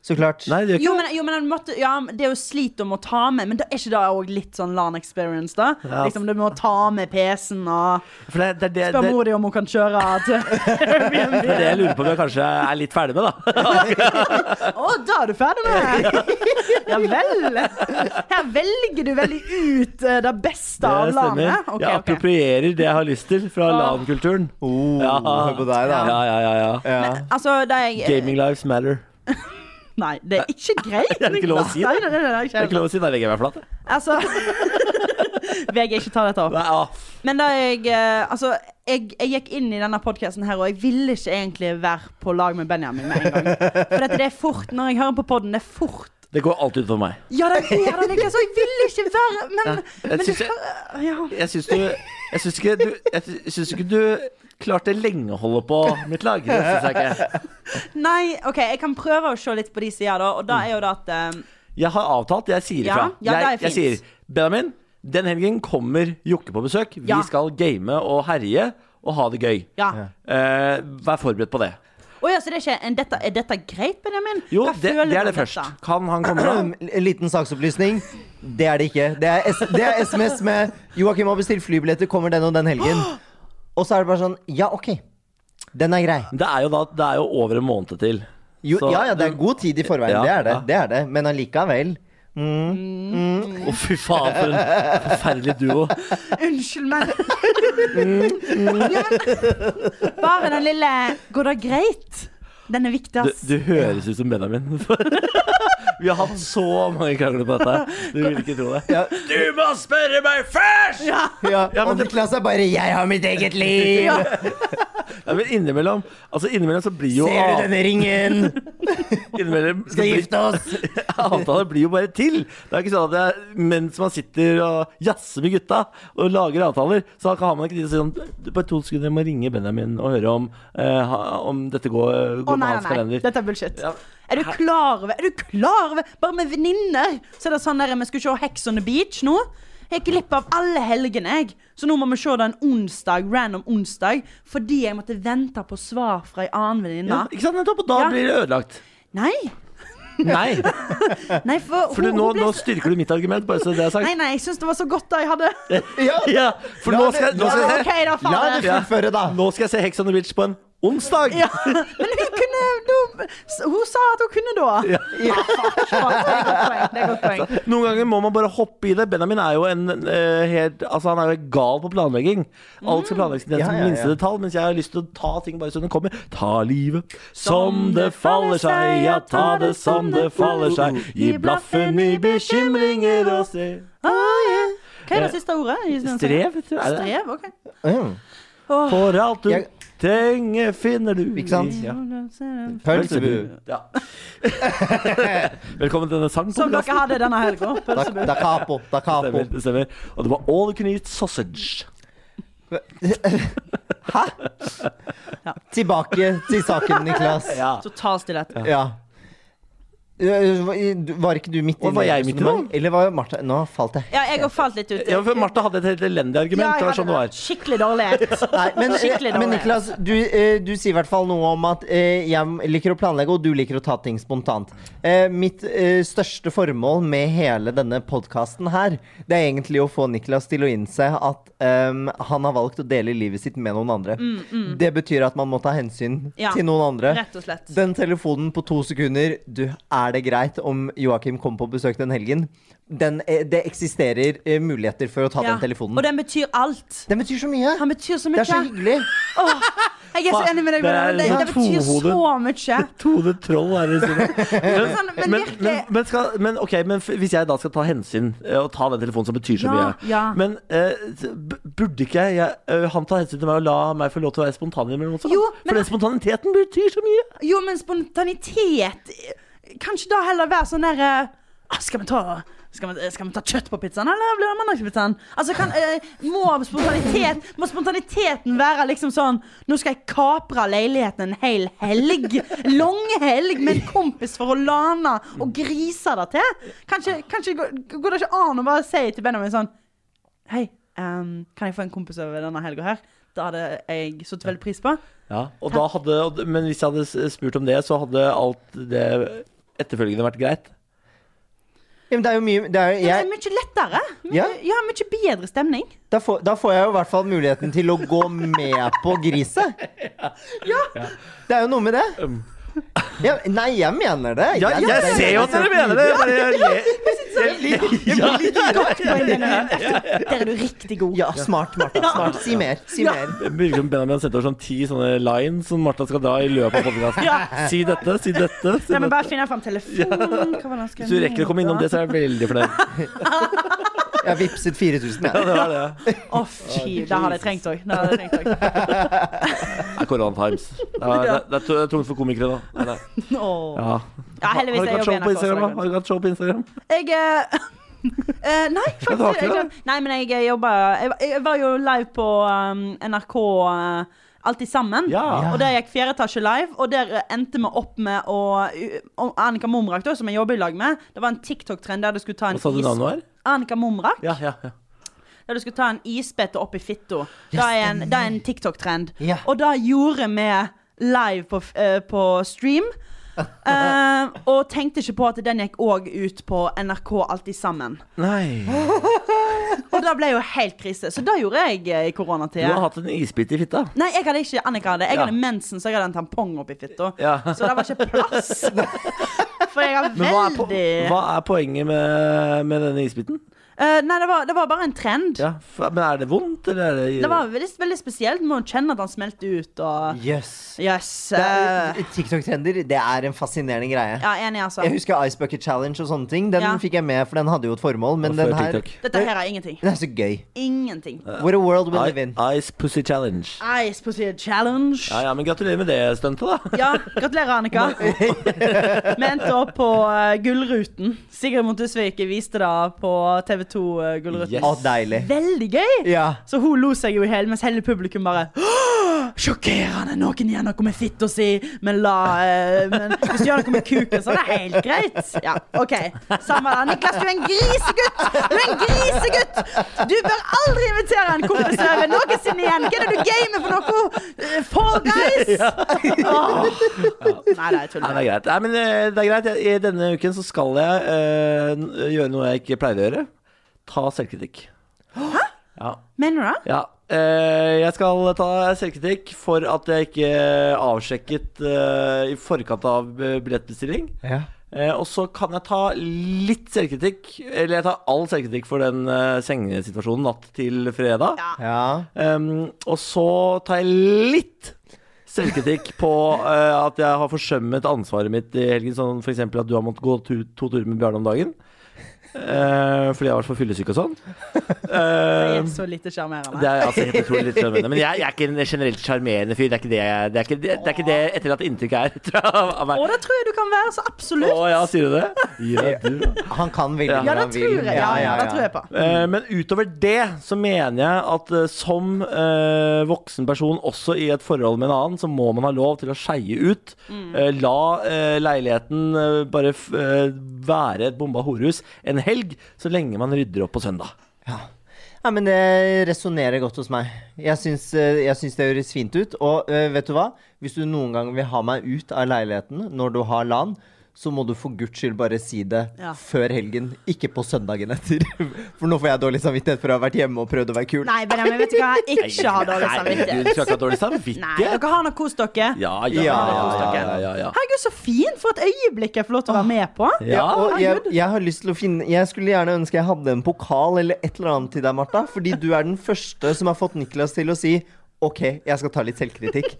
Speaker 2: Så klart.
Speaker 1: Nei, det gjør
Speaker 3: Jo,
Speaker 1: ikke det.
Speaker 3: men, jo, men han måtte, ja, det er jo slit om å ta med, men det er ikke det òg litt sånn LAN experience, da?
Speaker 1: Ja.
Speaker 3: Liksom, du må ta med PC-en og
Speaker 1: For det, det, er det,
Speaker 3: Spør
Speaker 1: det,
Speaker 3: mor di om hun kan kjøre til Airbnb.
Speaker 1: [laughs] det er det jeg lurer på om jeg kanskje er litt ferdig
Speaker 3: [laughs]
Speaker 1: med, da.
Speaker 3: Å, da er du ferdig med
Speaker 1: [laughs]
Speaker 3: det! Ja vel. Her velger du veldig ut eh, det beste av
Speaker 1: Det stemmer.
Speaker 3: landet. Ok,
Speaker 1: jeg
Speaker 3: ok.
Speaker 1: approprierer det jeg har lyst til fra LAN-kulturen.
Speaker 2: Oh,
Speaker 1: Ja.
Speaker 2: hør på deg, da.
Speaker 1: Ja, ja, ja, ja.
Speaker 2: Ja.
Speaker 3: Altså, det er
Speaker 1: Gaming lives matter.
Speaker 3: Nei, det er ikke greit.
Speaker 1: Det [laughs] er ikke lov å si det.
Speaker 3: Nei, nei, nei, nei,
Speaker 1: Det er
Speaker 3: ikke
Speaker 1: ikke
Speaker 3: lov.
Speaker 1: lov å si. Da legger jeg meg flat. jeg.
Speaker 3: Altså [laughs] VG, ikke ta dette opp.
Speaker 1: Nei, ah.
Speaker 3: Men da jeg eh, Altså, jeg, jeg gikk inn i denne podkasten her, og jeg ville ikke egentlig være på lag med Benjamin med en
Speaker 1: [laughs]
Speaker 3: gang. For dette, det er fort, når jeg hører på podden, det er fort
Speaker 1: Det går alltid utover meg.
Speaker 3: Ja, det er det, liksom. Jeg ville ikke være Men,
Speaker 1: jeg
Speaker 3: men det,
Speaker 1: synes jeg-
Speaker 3: ja.
Speaker 1: Jeg syns du Jeg syns ikke, du- jeg syns ikke du klarte lenge å holde på mitt lag. Det syns jeg ikke.
Speaker 3: Nei, OK, jeg kan prøve å se litt på de sider, da. Og
Speaker 1: Mm.
Speaker 3: da er jo det at eh,
Speaker 1: Jeg har avtalt, jeg sier
Speaker 3: Ja,
Speaker 1: ifra.
Speaker 3: ja, det er
Speaker 1: jeg, jeg sier
Speaker 3: fint.
Speaker 1: Benjamin, den helgen kommer Jokke på besøk. Vi
Speaker 3: Ja.
Speaker 1: skal game og herje og ha det gøy.
Speaker 3: Ja.
Speaker 1: Eh, vær forberedt på det.
Speaker 3: Å ja, så det er ikke en dette, Er dette greit, Benjamin?
Speaker 1: Jo,
Speaker 3: Hva
Speaker 1: det,
Speaker 3: føler
Speaker 1: det er
Speaker 3: du
Speaker 1: det
Speaker 3: om
Speaker 1: først.
Speaker 3: dette?
Speaker 1: Kan han komme da?
Speaker 2: En liten saksopplysning. Det er det ikke. Det er, S det er SMS med 'Joakim har bestilt flybilletter, kommer den og den helgen'.
Speaker 1: [gasps]
Speaker 2: Og så er det bare sånn Ja, OK. Den er grei.
Speaker 1: Det er jo da Det er jo over en måned til.
Speaker 2: Jo,
Speaker 1: Så-
Speaker 2: ja, ja, det er god tid i forveien.
Speaker 1: Ja,
Speaker 2: det, er det.
Speaker 1: ja.
Speaker 2: det er det. Men allikevel.
Speaker 1: Å, fy faen, for en forferdelig duo.
Speaker 3: [laughs] Unnskyld meg.
Speaker 1: Mm.
Speaker 3: [laughs] ja, men, bare den lille 'går det greit'? Den er viktig,
Speaker 1: Du,
Speaker 3: ass.
Speaker 1: du høres ut som Benjamin. [laughs] Vi har hatt så mange krangler på dette. Du vil ikke tro det.
Speaker 2: Ja.
Speaker 1: Du må spørre meg først! Ja,
Speaker 2: Ja,
Speaker 1: Ja, men
Speaker 2: og
Speaker 1: det-
Speaker 2: Niklas er bare 'Jeg har mitt eget liv'.
Speaker 1: men innimellom Altså innimellom så blir jo ah.
Speaker 2: Ser du
Speaker 1: av-
Speaker 2: denne ringen?
Speaker 1: innimellom, så
Speaker 2: Skal
Speaker 1: blir-
Speaker 2: gifte
Speaker 1: [laughs]
Speaker 2: oss!
Speaker 1: Avtaler blir jo bare til. Det er ikke sånn at det er, mens man sitter og jazzer med gutta og lager avtaler, så har man ikke tid til å si sånn «Du, Bare to sekunder, jeg må ringe Benjamin og høre om, eh, ha- om dette går, går
Speaker 3: Å
Speaker 1: på
Speaker 3: nei,
Speaker 1: hans
Speaker 3: nei, nei.
Speaker 1: kalender.
Speaker 3: Dette er bullshit.
Speaker 1: Ja.
Speaker 3: Er du klar over Er du klar over Bare med venninner så er det sånn der Vi skulle se Hex on the Beach nå. Jeg gikk glipp av alle helgene, jeg. Så nå må vi se den onsdag, random onsdag, fordi jeg måtte vente på svar fra ei annen venninne.
Speaker 1: Ja, ikke sant? Nettopp. Og da
Speaker 3: Ja.
Speaker 1: blir det
Speaker 3: [laughs]
Speaker 1: ødelagt.
Speaker 3: Nei.
Speaker 1: Nei.
Speaker 3: Nei, for,
Speaker 1: For du,
Speaker 3: hun-
Speaker 1: nå,
Speaker 3: hun ble
Speaker 1: nå
Speaker 3: så-
Speaker 1: styrker du mitt argument, bare så det er
Speaker 3: Nei,
Speaker 1: sagt.
Speaker 3: nei, jeg syns det var så godt da jeg hadde
Speaker 2: Ja,
Speaker 1: [laughs] Ja, for
Speaker 2: La
Speaker 1: nå
Speaker 2: det-
Speaker 1: skal, jeg- nå
Speaker 2: la
Speaker 1: skal jeg
Speaker 3: OK,
Speaker 1: se
Speaker 3: da,
Speaker 2: La
Speaker 3: faen.
Speaker 2: det fullføre, da.
Speaker 1: Nå skal jeg se Hex on the Beach på en onsdag!
Speaker 3: [laughs]
Speaker 1: [laughs]
Speaker 3: Ja, men hun kunne da, Hun sa at hun kunne da. Ja, fuck, fuck, [laughs] det er godt poeng. Det er godt
Speaker 1: [laughs]
Speaker 3: poeng.
Speaker 1: Altså, Noen ganger må man bare hoppe i det. Benjamin er jo en eh, helt Altså, han er jo gal på planlegging. Alt skal planlegges til den
Speaker 2: Ja,
Speaker 1: som
Speaker 2: ja, ja.
Speaker 1: minste detalj, mens jeg har lyst til å ta ting bare som det kommer. Ta livet som det faller seg, ja, ta det som det faller seg. Gi blaffen i bekymringer og se
Speaker 3: Ah, ja. Hva er det siste ordet? i den sangen?
Speaker 1: Eh, Strev, tror jeg det er.
Speaker 3: Strev, ok.
Speaker 2: Mm.
Speaker 1: For alt du
Speaker 2: Jeg-
Speaker 1: trenger, finner du
Speaker 2: Ikke sant?
Speaker 1: i- Ja.
Speaker 2: Pølsebu.
Speaker 1: Ja. [laughs] Velkommen til denne sangen.
Speaker 3: Som dere hadde denne
Speaker 2: [laughs]
Speaker 3: helga.
Speaker 2: Da,
Speaker 3: Pølsebu.
Speaker 2: da capo. Da capo.
Speaker 1: Stemmer, det stemmer. Og det var all you can eat sausage.
Speaker 2: Hæ?
Speaker 3: Ja.
Speaker 2: Tilbake til saken, Niklas.
Speaker 1: [laughs] Ja.
Speaker 3: Total stillhet.
Speaker 2: Ja. Eh, Var ikke du midt i
Speaker 1: Og var
Speaker 2: det
Speaker 1: jeg midt i det?
Speaker 2: resonnementet? Eller var Martha Nå falt jeg.
Speaker 3: Ja, jeg har falt litt ut.
Speaker 1: Ja, for Martha hadde et helt elendig
Speaker 3: Ja,
Speaker 1: argument.
Speaker 3: jeg
Speaker 1: det var
Speaker 3: hadde
Speaker 1: sånn det var.
Speaker 3: Skikkelig
Speaker 2: [laughs]
Speaker 3: dårlig. [laughs]
Speaker 2: Nei, men,
Speaker 3: Skikkelig
Speaker 2: eh, men
Speaker 3: dårlig.
Speaker 2: Niklas, du, eh, du sier i hvert fall noe om at eh, jeg liker å planlegge, og du liker å ta ting spontant. Eh, Mitt eh, største formål med hele denne podkasten her, det er egentlig å få Niklas til å innse at ehm, han har valgt å dele livet sitt med noen andre. Det betyr at man må ta hensyn
Speaker 3: Mm, Ja,
Speaker 2: til noen andre.
Speaker 3: Rett og slett.
Speaker 2: Den telefonen på to sekunder Du, er det greit om Joakim kommer på besøk den helgen? Den, eh, det eksisterer eh, muligheter for å ta
Speaker 3: Ja.
Speaker 2: den telefonen.
Speaker 3: Og den betyr alt.
Speaker 2: den betyr så mye!
Speaker 3: Han betyr så
Speaker 2: Det
Speaker 3: mye.
Speaker 2: er så hyggelig.
Speaker 3: Åh, jeg er så enig med deg.
Speaker 1: Det er
Speaker 3: Benjamin. Det, det betyr
Speaker 1: sånn
Speaker 3: så mye.
Speaker 1: Tone Troll er
Speaker 3: [laughs]
Speaker 1: det
Speaker 3: Sånn,
Speaker 1: sånn.
Speaker 3: men
Speaker 1: Men,
Speaker 3: virkelig-
Speaker 1: men, men, skal, men ok, men f- hvis jeg da skal ta hensyn eh, og ta den telefonen som betyr så
Speaker 3: Ja,
Speaker 1: mye
Speaker 3: ja.
Speaker 1: Men eh, b- burde ikke jeg, jeg, eh, han ta hensyn til meg og la meg få lov til å være spontan innimellom også? da?
Speaker 3: Jo, men-
Speaker 1: For den spontaniteten betyr så mye.
Speaker 3: Jo, men spontanitet Kanskje da heller være sånn der eh, ah, Skal vi ta Skal vi, skal vi ta kjøtt på pizzaen, eller blir det mandagspizzaen? Altså, kan, eh, må, spontanitet, må spontaniteten være liksom sånn Nå skal jeg kapre leiligheten en hel helg. Langhelg med en kompis for å lane og grise det til. Kanskje, kanskje går går det ikke an å bare si til Benjamin sånn Hei, ehm, kan jeg få en kompis over denne helga her? Det hadde jeg satt veldig pris på.
Speaker 1: Ja, og da hadde, og- men hvis jeg hadde s- spurt om det, så hadde alt det etterfølgende vært greit.
Speaker 2: Ja, men det er jo mye det er, jo-
Speaker 3: Det
Speaker 2: jeg,
Speaker 3: er Altså, mye lettere. Mye,
Speaker 2: Ja.
Speaker 3: ja. mye bedre stemning.
Speaker 2: da, får, da får jeg jo i hvert fall muligheten til å gå med på griset. Det er jo noe med det. Ja, nei, jeg mener det.
Speaker 1: Um. Ja, jeg,
Speaker 2: det-
Speaker 1: ser jo at dere mener det! Bare jeg ler. Ja,
Speaker 3: Godt poeng, Benjamin. Der er du riktig god.
Speaker 2: Ja, smart, Martha. Smart. Si mer. Si
Speaker 3: Ja.
Speaker 2: mer.
Speaker 1: [laughs] Det virker som Benjamin har sendt over sånn ti sånne lines som Martha skal dra i løpet av podkasten.
Speaker 3: Ja.
Speaker 1: Si dette, si dette. Si
Speaker 3: Nei, men
Speaker 1: dette.
Speaker 3: bare finner jeg fram telefonen. Hva var det han skrev
Speaker 1: Hvis du rekker å komme innom
Speaker 3: ned,
Speaker 1: det, så er jeg veldig fornøyd. [laughs]
Speaker 2: Jeg har vippset 4000, jeg.
Speaker 1: Ja, det var det.
Speaker 3: da? Å, fy. Det hadde jeg trengt òg. Det hadde jeg trengt også.
Speaker 1: Det er koronatimes. Det er, det er, det er tu- det er tungt for komikere, da. Nei, nei.
Speaker 3: Åh.
Speaker 1: Ja.
Speaker 3: Ja,
Speaker 1: Har du
Speaker 3: heldigvis er jeg
Speaker 1: hatt show
Speaker 3: jobber i
Speaker 1: på
Speaker 3: NRK. så
Speaker 1: Instagram? da?
Speaker 3: det går
Speaker 1: Har du hatt show på Instagram?
Speaker 3: Jeg eh, [laughs] eh, nei,
Speaker 1: Ja, du har
Speaker 3: faktisk
Speaker 1: ikke
Speaker 3: jeg,
Speaker 1: det?
Speaker 3: Nei, men jeg eh, jobba jeg, var- jeg var jo live på um, NRK eh, Alltid sammen.
Speaker 1: Ja.
Speaker 3: Og der gikk Fjerde etasje live, og der eh, endte vi opp med å og Annika Momrak, da, som jeg jobber i lag med, det var en TikTok-trend der du skulle ta en
Speaker 1: Hva sa du
Speaker 3: is-
Speaker 1: navnet var?
Speaker 3: Annika Momrak.
Speaker 1: Ja, ja, ja.
Speaker 3: Der du skulle ta en isbete opp i fitta. Det er en, det er en TikTok-trend.
Speaker 2: Ja.
Speaker 3: Og det gjorde vi live på, f- eh, på stream. Eh, og tenkte ikke på at den gikk òg ut på NRK Alltid sammen.
Speaker 1: Nei.
Speaker 3: Og det ble jo helt krise. Så det gjorde jeg eh, i
Speaker 1: Du har
Speaker 3: koronatida.
Speaker 1: hatt en isbit i fitta.
Speaker 3: Nei, jeg hadde ikke Annika hadde. Jeg
Speaker 1: Ja.
Speaker 3: hadde mensen, så jeg hadde en tampong oppi fitta.
Speaker 1: Ja.
Speaker 3: Så det var ikke
Speaker 1: [laughs]
Speaker 3: plass. For jeg har
Speaker 1: Men hva er, po
Speaker 3: veldig
Speaker 1: hva er poenget med, med denne isbiten?
Speaker 3: Eh, Nei, det var, det var bare en trend.
Speaker 1: Ja, f- men er det vondt, eller er det
Speaker 3: Det var veldig, veldig spesielt. Må jo kjenne at han smelte ut og
Speaker 2: Jøss.
Speaker 3: Jøss.
Speaker 2: Det
Speaker 3: eh,
Speaker 2: er- TikTok-trender, det er en fascinerende greie.
Speaker 3: Ja, enig, altså.
Speaker 2: Jeg husker Ice Bucket Challenge og sånne ting. Den
Speaker 3: Ja.
Speaker 2: fikk jeg med, for den hadde jo et formål. Men
Speaker 1: Før
Speaker 2: den her
Speaker 1: TikTok.
Speaker 3: Dette her er ingenting.
Speaker 2: Den er så gøy.
Speaker 3: Ingenting.
Speaker 2: What a world we live in.
Speaker 1: I, Ice Pussy Challenge.
Speaker 3: Ice på side challenge.
Speaker 1: Ja, ja, men gratulerer med det stuntet, da. [laughs]
Speaker 3: Ja, gratulerer, Annika. Vi endte opp på eh, Gullruten. Sigrid Montesvik viste det på TV2 eh, Gullruten.
Speaker 1: Yes.
Speaker 2: Å, deilig.
Speaker 3: Veldig gøy!
Speaker 2: Ja.
Speaker 3: Så hun lo seg jo i hjel, mens hele publikum bare «Åh, Sjokkerende! Noen gjør noe med fitta si, men la eh, men Hvis du gjør noe med kuken, så er det helt greit. Ja, OK. Samme det. Niklas, du er en grisegutt! Du er en grisegutt! Du bør aldri invitere en kompis over noensinne igjen! Hva er det du gamer for noe? Eh, Fall Guys? Åh. Nei, det er tull.
Speaker 1: Nei, det er greit. Nei, men eh, det er greit. Jeg- I denne uken så skal jeg eh, n- gjøre noe jeg ikke pleier å gjøre. Ta selvkritikk. Ja.
Speaker 3: Mener du det?
Speaker 1: ja. Eh, jeg skal ta selvkritikk for at jeg ikke avsjekket eh, i forkant av eh, billettbestilling.
Speaker 2: Ja.
Speaker 1: Eh, og så kan jeg ta litt selvkritikk, eller jeg tar all selvkritikk for den eh, sengesituasjonen natt til fredag.
Speaker 3: Ja.
Speaker 2: Ja.
Speaker 1: Um, og så tar jeg litt selvkritikk på eh, at jeg har forsømmet ansvaret mitt i helgen. Sånn f.eks. at du har måttet gå to, to turer med Bjarne om dagen. Eh, fordi jeg har vært for fyllesyk og sånn.
Speaker 3: Det
Speaker 1: Eh,
Speaker 3: er så lite sjarmerende.
Speaker 1: det er altså helt utrolig litt sjarmerende. Men jeg, jeg er ikke en generelt sjarmerende fyr. Det er ikke det, jeg- det, er ikke, det, det er ikke det etter at inntrykket er [laughs] tror jeg, av meg.
Speaker 3: Og det tror jeg du kan være, så absolutt.
Speaker 1: Å ja, sier du det? Ja, du.
Speaker 2: Han kan veldig
Speaker 1: Ja.
Speaker 2: mye
Speaker 3: Ja, det
Speaker 2: han vil.
Speaker 3: tror jeg. Ja, ja, det tror jeg på.
Speaker 1: Eh, Men utover det så mener jeg at eh, som eh, voksen person, også i et forhold med en annen, så må man ha lov til å skeie ut. Eh, la eh, leiligheten eh, bare f eh, være et bomba horehus en helg, så lenge man rydder opp på søndag.
Speaker 2: Ja, men det resonnerer godt hos meg. Jeg syns, eh, jeg syns det høres fint ut. Og eh, vet du hva? Hvis du noen gang vil ha meg ut av leiligheten når du har LAN, så må du for guds skyld bare si det
Speaker 3: Ja.
Speaker 2: før helgen, ikke på søndagen etter. [laughs] For nå får jeg dårlig samvittighet for å ha vært hjemme og prøvd å være kul.
Speaker 3: Nei, Benjamin, vet du
Speaker 1: [laughs]
Speaker 3: hva? Ikke ha dårlig
Speaker 1: Herregud,
Speaker 3: samvittighet.
Speaker 1: skal ikke ha [laughs] dårlig
Speaker 3: Nei,
Speaker 1: samvittighet.
Speaker 3: dere har nå kost dere.
Speaker 1: Ja, ja,
Speaker 2: Ja,
Speaker 1: ja. ja, ja, ja, ja.
Speaker 3: Herregud, så fint! For et øyeblikk jeg får lov til å være med på.
Speaker 1: Ja,
Speaker 2: og jeg, jeg har lyst til å finne Jeg skulle gjerne ønske jeg hadde en pokal eller et eller annet til deg, Martha. Fordi du er den første som har fått Niklas til å si OK, jeg skal ta litt selvkritikk.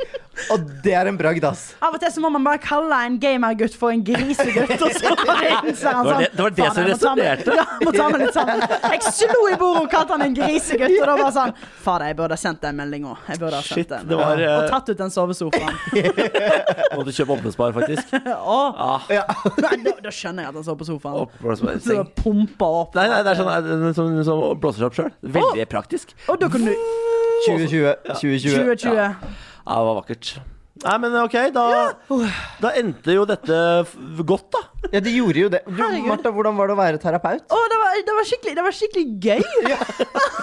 Speaker 2: Og det er en bragd, ass.
Speaker 3: Av og til så må man bare kalle en gamergutt for en grisegutt, og
Speaker 1: [laughs]
Speaker 3: så innser han
Speaker 1: Det var
Speaker 3: sånn
Speaker 1: det- det var det som
Speaker 3: "Faen, jeg må ta meg-
Speaker 1: resonnerte."
Speaker 3: Ja, jeg må ta meg litt sammen. Jeg slo i bordet og kalte han en grisegutt, og da bare sånn Fader, jeg burde ha sendt en melding òg. Jeg burde ha sendt
Speaker 1: Shit,
Speaker 3: en.
Speaker 1: det var,
Speaker 3: ja.
Speaker 1: eh,
Speaker 3: Og tatt ut den sovesofaen.
Speaker 1: [laughs] Måtte kjøpe oppblåsbar, faktisk.
Speaker 3: Å,
Speaker 1: Ah,
Speaker 3: nei, da, da skjønner jeg at han sov på sofaen.
Speaker 1: oppblåsbar
Speaker 3: Så
Speaker 1: seng.
Speaker 3: det pumpa opp.
Speaker 1: Nei, nei, det er sånn eh, som, som blåser seg opp sjøl. Veldig praktisk.
Speaker 3: Og da kan du
Speaker 2: 2020. 2020.
Speaker 3: 2020.
Speaker 1: Ja, det var vakkert. Nei, men ok, da, da endte jo dette f- godt, da.
Speaker 2: Ja, det gjorde jo det. Du,
Speaker 3: Herregud.
Speaker 2: Martha, hvordan var det å være terapeut?
Speaker 3: Å, det var, det, var skikkelig, det var skikkelig gøy. jeg,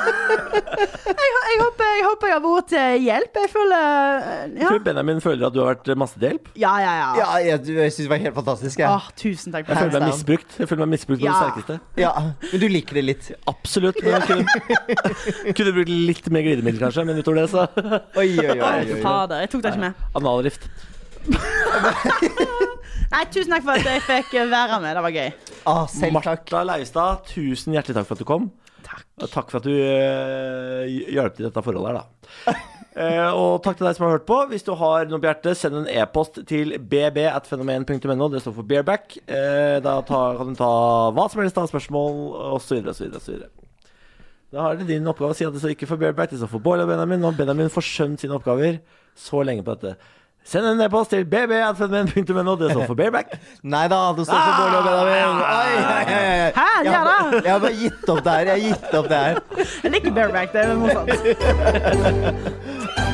Speaker 3: hå- [laughs] jeg, håper, jeg håper jeg har vært til hjelp. Jeg føler eh, Ja,
Speaker 1: Tror Benjamin føler at du har vært masse til hjelp.
Speaker 3: ja, ja. ja.
Speaker 2: Ja, jeg, du- jeg syns det var helt fantastisk. Jeg.
Speaker 3: Åh, tusen takk.
Speaker 1: Jeg
Speaker 3: for
Speaker 2: Hands
Speaker 1: føler
Speaker 3: det.
Speaker 1: meg
Speaker 2: down.
Speaker 1: misbrukt. Jeg føler meg misbrukt på
Speaker 3: Ja.
Speaker 1: det sterkeste.
Speaker 2: Ja, Men du liker det litt.
Speaker 1: Absolutt. Men jeg kunne, kunne [laughs] brukt litt mer glidemiddel, kanskje. Men utover det,
Speaker 3: [laughs]
Speaker 1: så
Speaker 2: Oi, oi, oi. oi, oi.
Speaker 3: Fader, jeg tok det ikke med.
Speaker 1: Analrift.
Speaker 3: Nei, tusen takk for at jeg fikk eh, være med. Det var gøy.
Speaker 2: Ah, selv takk.
Speaker 1: Martha Leivstad, tusen hjertelig takk for at du kom.
Speaker 3: Takk.
Speaker 1: Og takk for at du øh, hjalp til i dette forholdet her, da.
Speaker 2: [laughs]
Speaker 1: Eh, og takk til deg som har hørt på. Hvis du har noe på hjertet, send en e-post til bb.fenomen.no. Det står for bareback. Eh, da ta, kan du ta hva som helst av spørsmål, osv., osv., osv. Da er det din oppgave å si at det står ikke for bareback, det står for Bård og Benjamin. Og Benjamin får skjønt sine oppgaver så lenge på dette. Send en e-post til bb.fenomen.no. Det står for bareback.
Speaker 2: Nei da, det står for Bård og Benjamin. Oi, oi, oi, oi.
Speaker 3: Hæ,
Speaker 2: Jeg
Speaker 3: ja da.
Speaker 2: har- Jeg har bare gitt opp det her. Jeg har gitt opp det her.
Speaker 3: Jeg liker bareback. Det er morsomt.